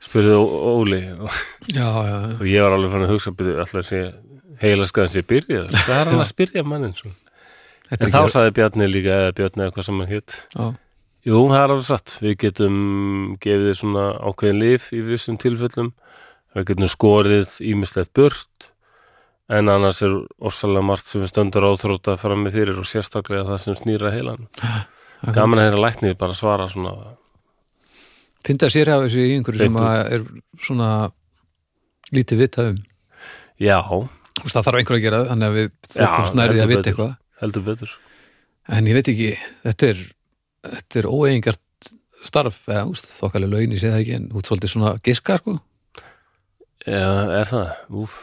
spurði Ó- Óli já, já, já. og ég var alveg fann að hugsa byrju alltaf sé heila skaðan sé byrjað hvað er hann að spyrja mannin svona Þetta en er þá ekki- sagði Bjarni líka eða Bjarni eða hvað sem hann hétt Já. Jú, það er alveg satt. Við getum gefið þér svona ákveðin lif í vissum tilfellum. Við getum skorið ímislegt burt en annars er orsalega margt sem við stöndur áþróta að fara með fyrir og sérstaklega það sem snýra heilan. Gaman að heyra læknið bara svara svona Fyndi að sér hafa þessu í einhverju sem Hreint að er svona lítið vitað um. já, Þú veist, það þarf einhver að gera það, þannig að við Já, þokumst nærði heldur að vita betur. eitthvað. heldur betur. En ég veit ekki, þetta er, þetta er óeigingart starf, eða þú veist, þokkalega laun, ég sé það ekki, en þú ert svolítið svona giska, sko. Já, er það? Úf.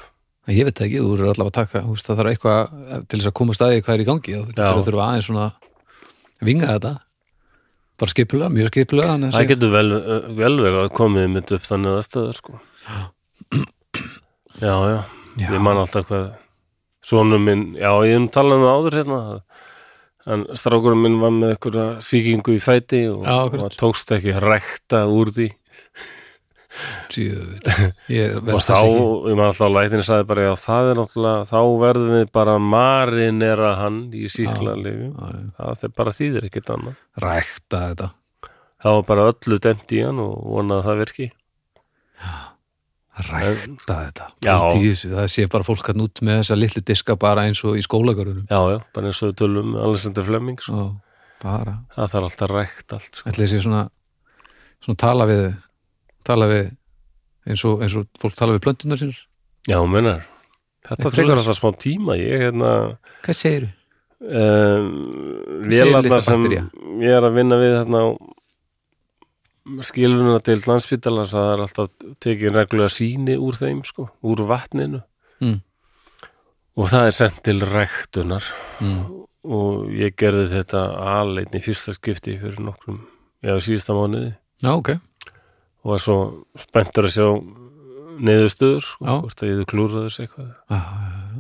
En ég veit það ekki, þú eru allavega að taka, þú veist, það þarf eitthvað eh, til þess að komast að því hvað er í gangi og þetta Já. þurfa að þurfa aðeins svona vinga þetta. bara skipulega, mjög skipulega þannig að Það segja- getur vel, vel vega komið mitt upp þannig aðstæður sko. Já, já, Já. Ég man alltaf hvað Svonum minn, já, ég hef talað um það áður hérna En strákurinn minn var með einhverja sýkingu í fæti og, Já, akkurat. og tókst ekki að rekta úr því Djöfull. Ég [LAUGHS] og verðist þá, þess ekki ég man alltaf að lætin sagði bara, já, það er náttúrulega þá verðum við bara marinera hann í síkla lifjum Já, já. það er bara þýðir ekkert annað rækta þetta það var bara öllu demt í hann og vonað að það virki rækta þetta Já. Pældu í þessu, það sé bara fólk hann út með þessa litlu diska bara eins og í skólagörðunum já, já, bara eins og við tölum um Alexander Fleming sko. og bara það þarf alltaf rækt allt sko. ætli þessi svona, svona tala við þau. tala við eins og, eins og fólk tala við plöntunar sinur já, munar, þetta Eitthvað tekur svoleiðis. alltaf smá tíma ég, hérna hvað segir þau? um, segir vélarna litla sem baktería? ég er að vinna við hérna skilfuna til landspítalans að það er alltaf tekin reglulega síni úr þeim sko, úr vatninu Mm. og það er sendt til ræktunar Mm. og ég gerði þetta aðleitn í fyrsta skipti fyrir nokkrum, já, í síðasta mánuði Já, ok, og var svo spenntur að sjá niðurstöður sko, Já. hvort að ég þau klúraður sér eitthvað ah,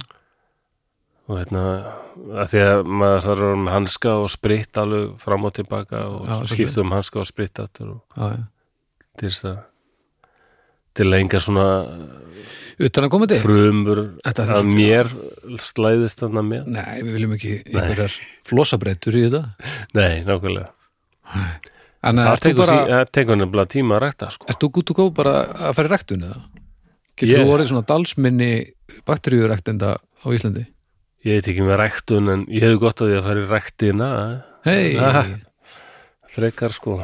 og hérna, að því að maður þarf að vera með hanska og spritt alveg fram og tilbaka Já, og svolítið. skipta um hanska og spritt aftur og já, já. til þess að til að enga svona utan að koma til frumur Þetta að þurfti- mér slæðist þarna með nei, við viljum ekki einhverjar flosabrettur í þetta nei, nákvæmlega en það ert þú tekur, bara bara... sí, það tekur nefnilega tíma að rækta sko. ert þú gútt og góð bara að fara í ræktun eða? getur Ég- þú orðið svona dalsminni bakteríuræktenda á Íslandi? ég veit ekki með ræktun en ég hefði gott að því að fara í ræktina eh, hei, Ah. já, frekar sko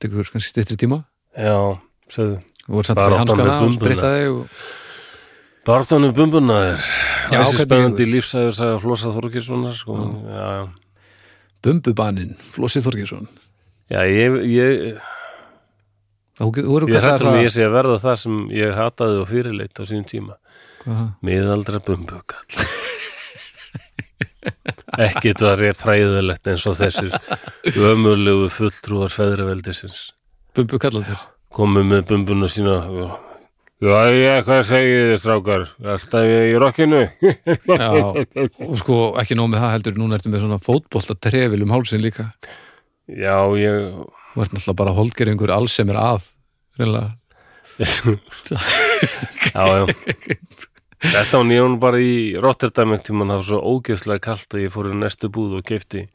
tekur þú kannski styttri tíma já, segðu þú voru samt Bara bara í áttan hanskana við og bumbuna. sprittaði og Bartónum bumbunaðir Já, Þessi hvernig spennandi lífsæður sagði Flosa Þorgilssonar sko. já. bumbubaninn, Flossi Þorgesson já, ég, ég, þú þú voru ég kallar hættur mig ég sé að verða það sem ég hataði og fyrirleitt á sínum tíma Miðaldra [LAUGHS] bumbukall Ekkit var ég træðilegt eins og þessir ömulegu fulltrúar feðraveldisins bumbu kallandir komu með bumbuna sína og Jæja, hvað segið þið strákar? Alltaf í rokkinu? og sko ekki nóg með það heldur núna ertu með svona fótbolla trefil um hálsin líka [LAUGHS] Já, ég þú ert náttúrulega bara holdgeringur alls sem er að reynilega já, já. Þetta var nýjón bara í Rotterdam einhvern tímann, það var svo ógeðslega kalt að ég fór í næstu búð og kefti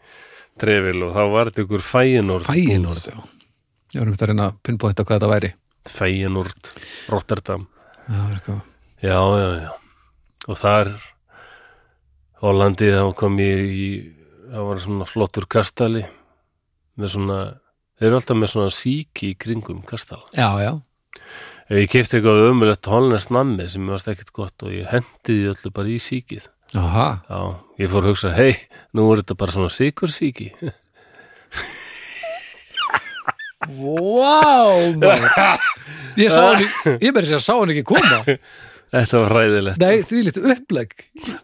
trefil og þá var þetta ykkur fæinord fæin orð já. ég var um þetta að reyna að pinpointa hvað þetta væri fæinord, Rotterdam það var eitthvað já, já, já og þar Hollandi þá kom ég í það var svona flottur kastali með svona þeir eru alltaf með svona síki í kringum kastala já, já, ef ég kefti eitthvað ömulegt holnest nammi sem mér varst ekkert gott og ég hendi því öllu bara í síkið aha Já, ég fór að hugsa, hei, nú er þetta bara svona sikursíki. wow maður. [LAUGHS] ég sá hann ekki- ég meira sér að sá hann ekki koma [LAUGHS] Þetta var ræðilegt. nei, því lítið upplegg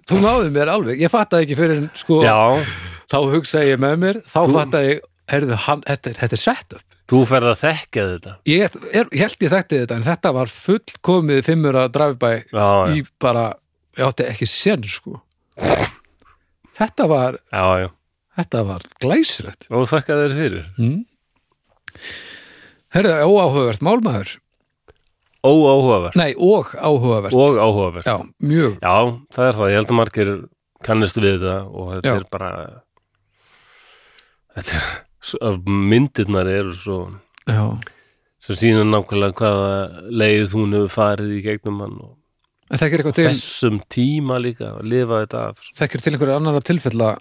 þú náðu mér alveg, ég fattaði ekki fyrir en sko Já, þá hugsaði ég með mér, þá fattaði ég heyrðu, hann, þetta, er- þetta er sett upp þú ferð að þekka þetta. ég er, ég held ég þekkti þetta en þetta var fullkomið fimmur að drafibæ Já, já, í bara, ég átti ekki sen sko þetta var, já, já. þetta var glæsrætt Og þakka þér fyrir. heyrðu, óáhugavert málmaður Óáhugavert nei, og áhugavert og áhugavert. Já. já, mjög, það er það. Ég held að margir kannist við það og þetta Já. er bara, þetta er, s- myndirnar eru svo, já, sem sína nákvæmlega hvaða leið hún hefur farið í gegnum hann og en þekkir eitthvað til þessum tíma líka að lifa þetta af. sko. þekkir til einhverja annara tilfella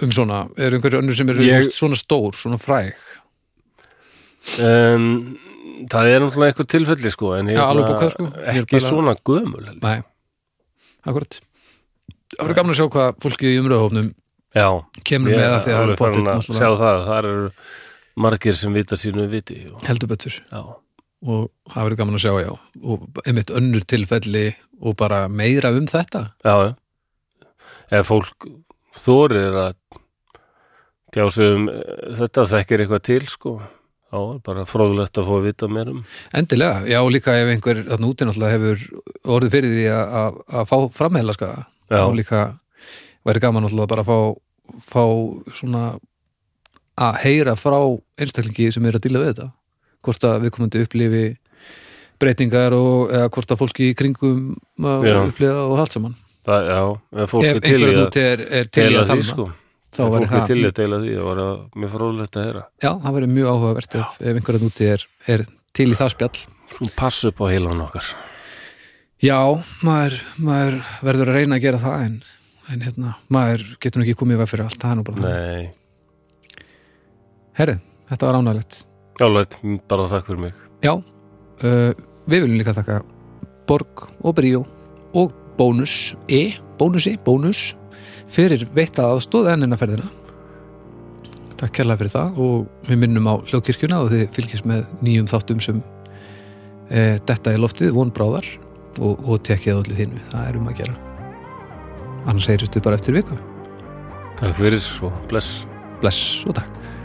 um svona, eru einhverju önnur sem eru Ég- þú veist, svona stór, svona fræg um, Það er náttúrulega eitthvað tilfelli sko en ég Já, er alveg bara bókað, sko. Ég er ekki bara- svona gömul held ég. Nei, akkurat Það verður gaman að sjá hvað fólki í umröðhófnum Já, kemur ég með að því að það alveg er bóttið farin að sjá náttúrulega það þar eru margir sem vita sínu viti og, heldur betur Já, og það verður gaman að sjá, já og einmitt önnur tilfelli og bara meira um þetta já, já Ef fólk þorir að tjá sig um eh, þetta þekkir eitthvað til sko þá er bara fróðlegt að fá að vita meir um Endilega, já og líka ef einhver þarna úti náttúrulega hefur orðið fyrir því að- að að fá framheila skaða Já. og líka væri gaman náttúrulega bara að fá, fá svona að heyra frá einstaklingi sem er að díla við þetta hvort að viðkomandi upplifi breytingar og eða hvort að fólki í kringum að Já. upplifa og allt saman það, já, ef fólk ef er til í einhverjum að úti er, er til í deila að því tala sko þá ef væri fólk er það, til í að deila því það var að, mér fróðlegt að heyra já, það væri mjög áhugavert ef, ef einhverjum úti er, er til í það spjall svo passa upp á heilan okkar Já, maður, maður verður að reyna að gera það en, en hérna, maður getur nú ekki komið í veg fyrir allt það er nú bara það. nei, Herri, þetta var ánægilegt. jálægt, bara þakk fyrir mig Já, uh, við viljum líka þakka Borg og Bríó og Bónus E, Bónusi, Bónus fyrir veitta aðstóð enninaferðina. Takk kærlega fyrir það og við minnum á hljókirkjuna og þið fylgjast með nýjum þáttum sem e, detta í loftið, vonbráðar og, og tekjað allir þínu, það er um að gera. Annars heyristu bara eftir viku. takk fyrir og bless Bless og takk.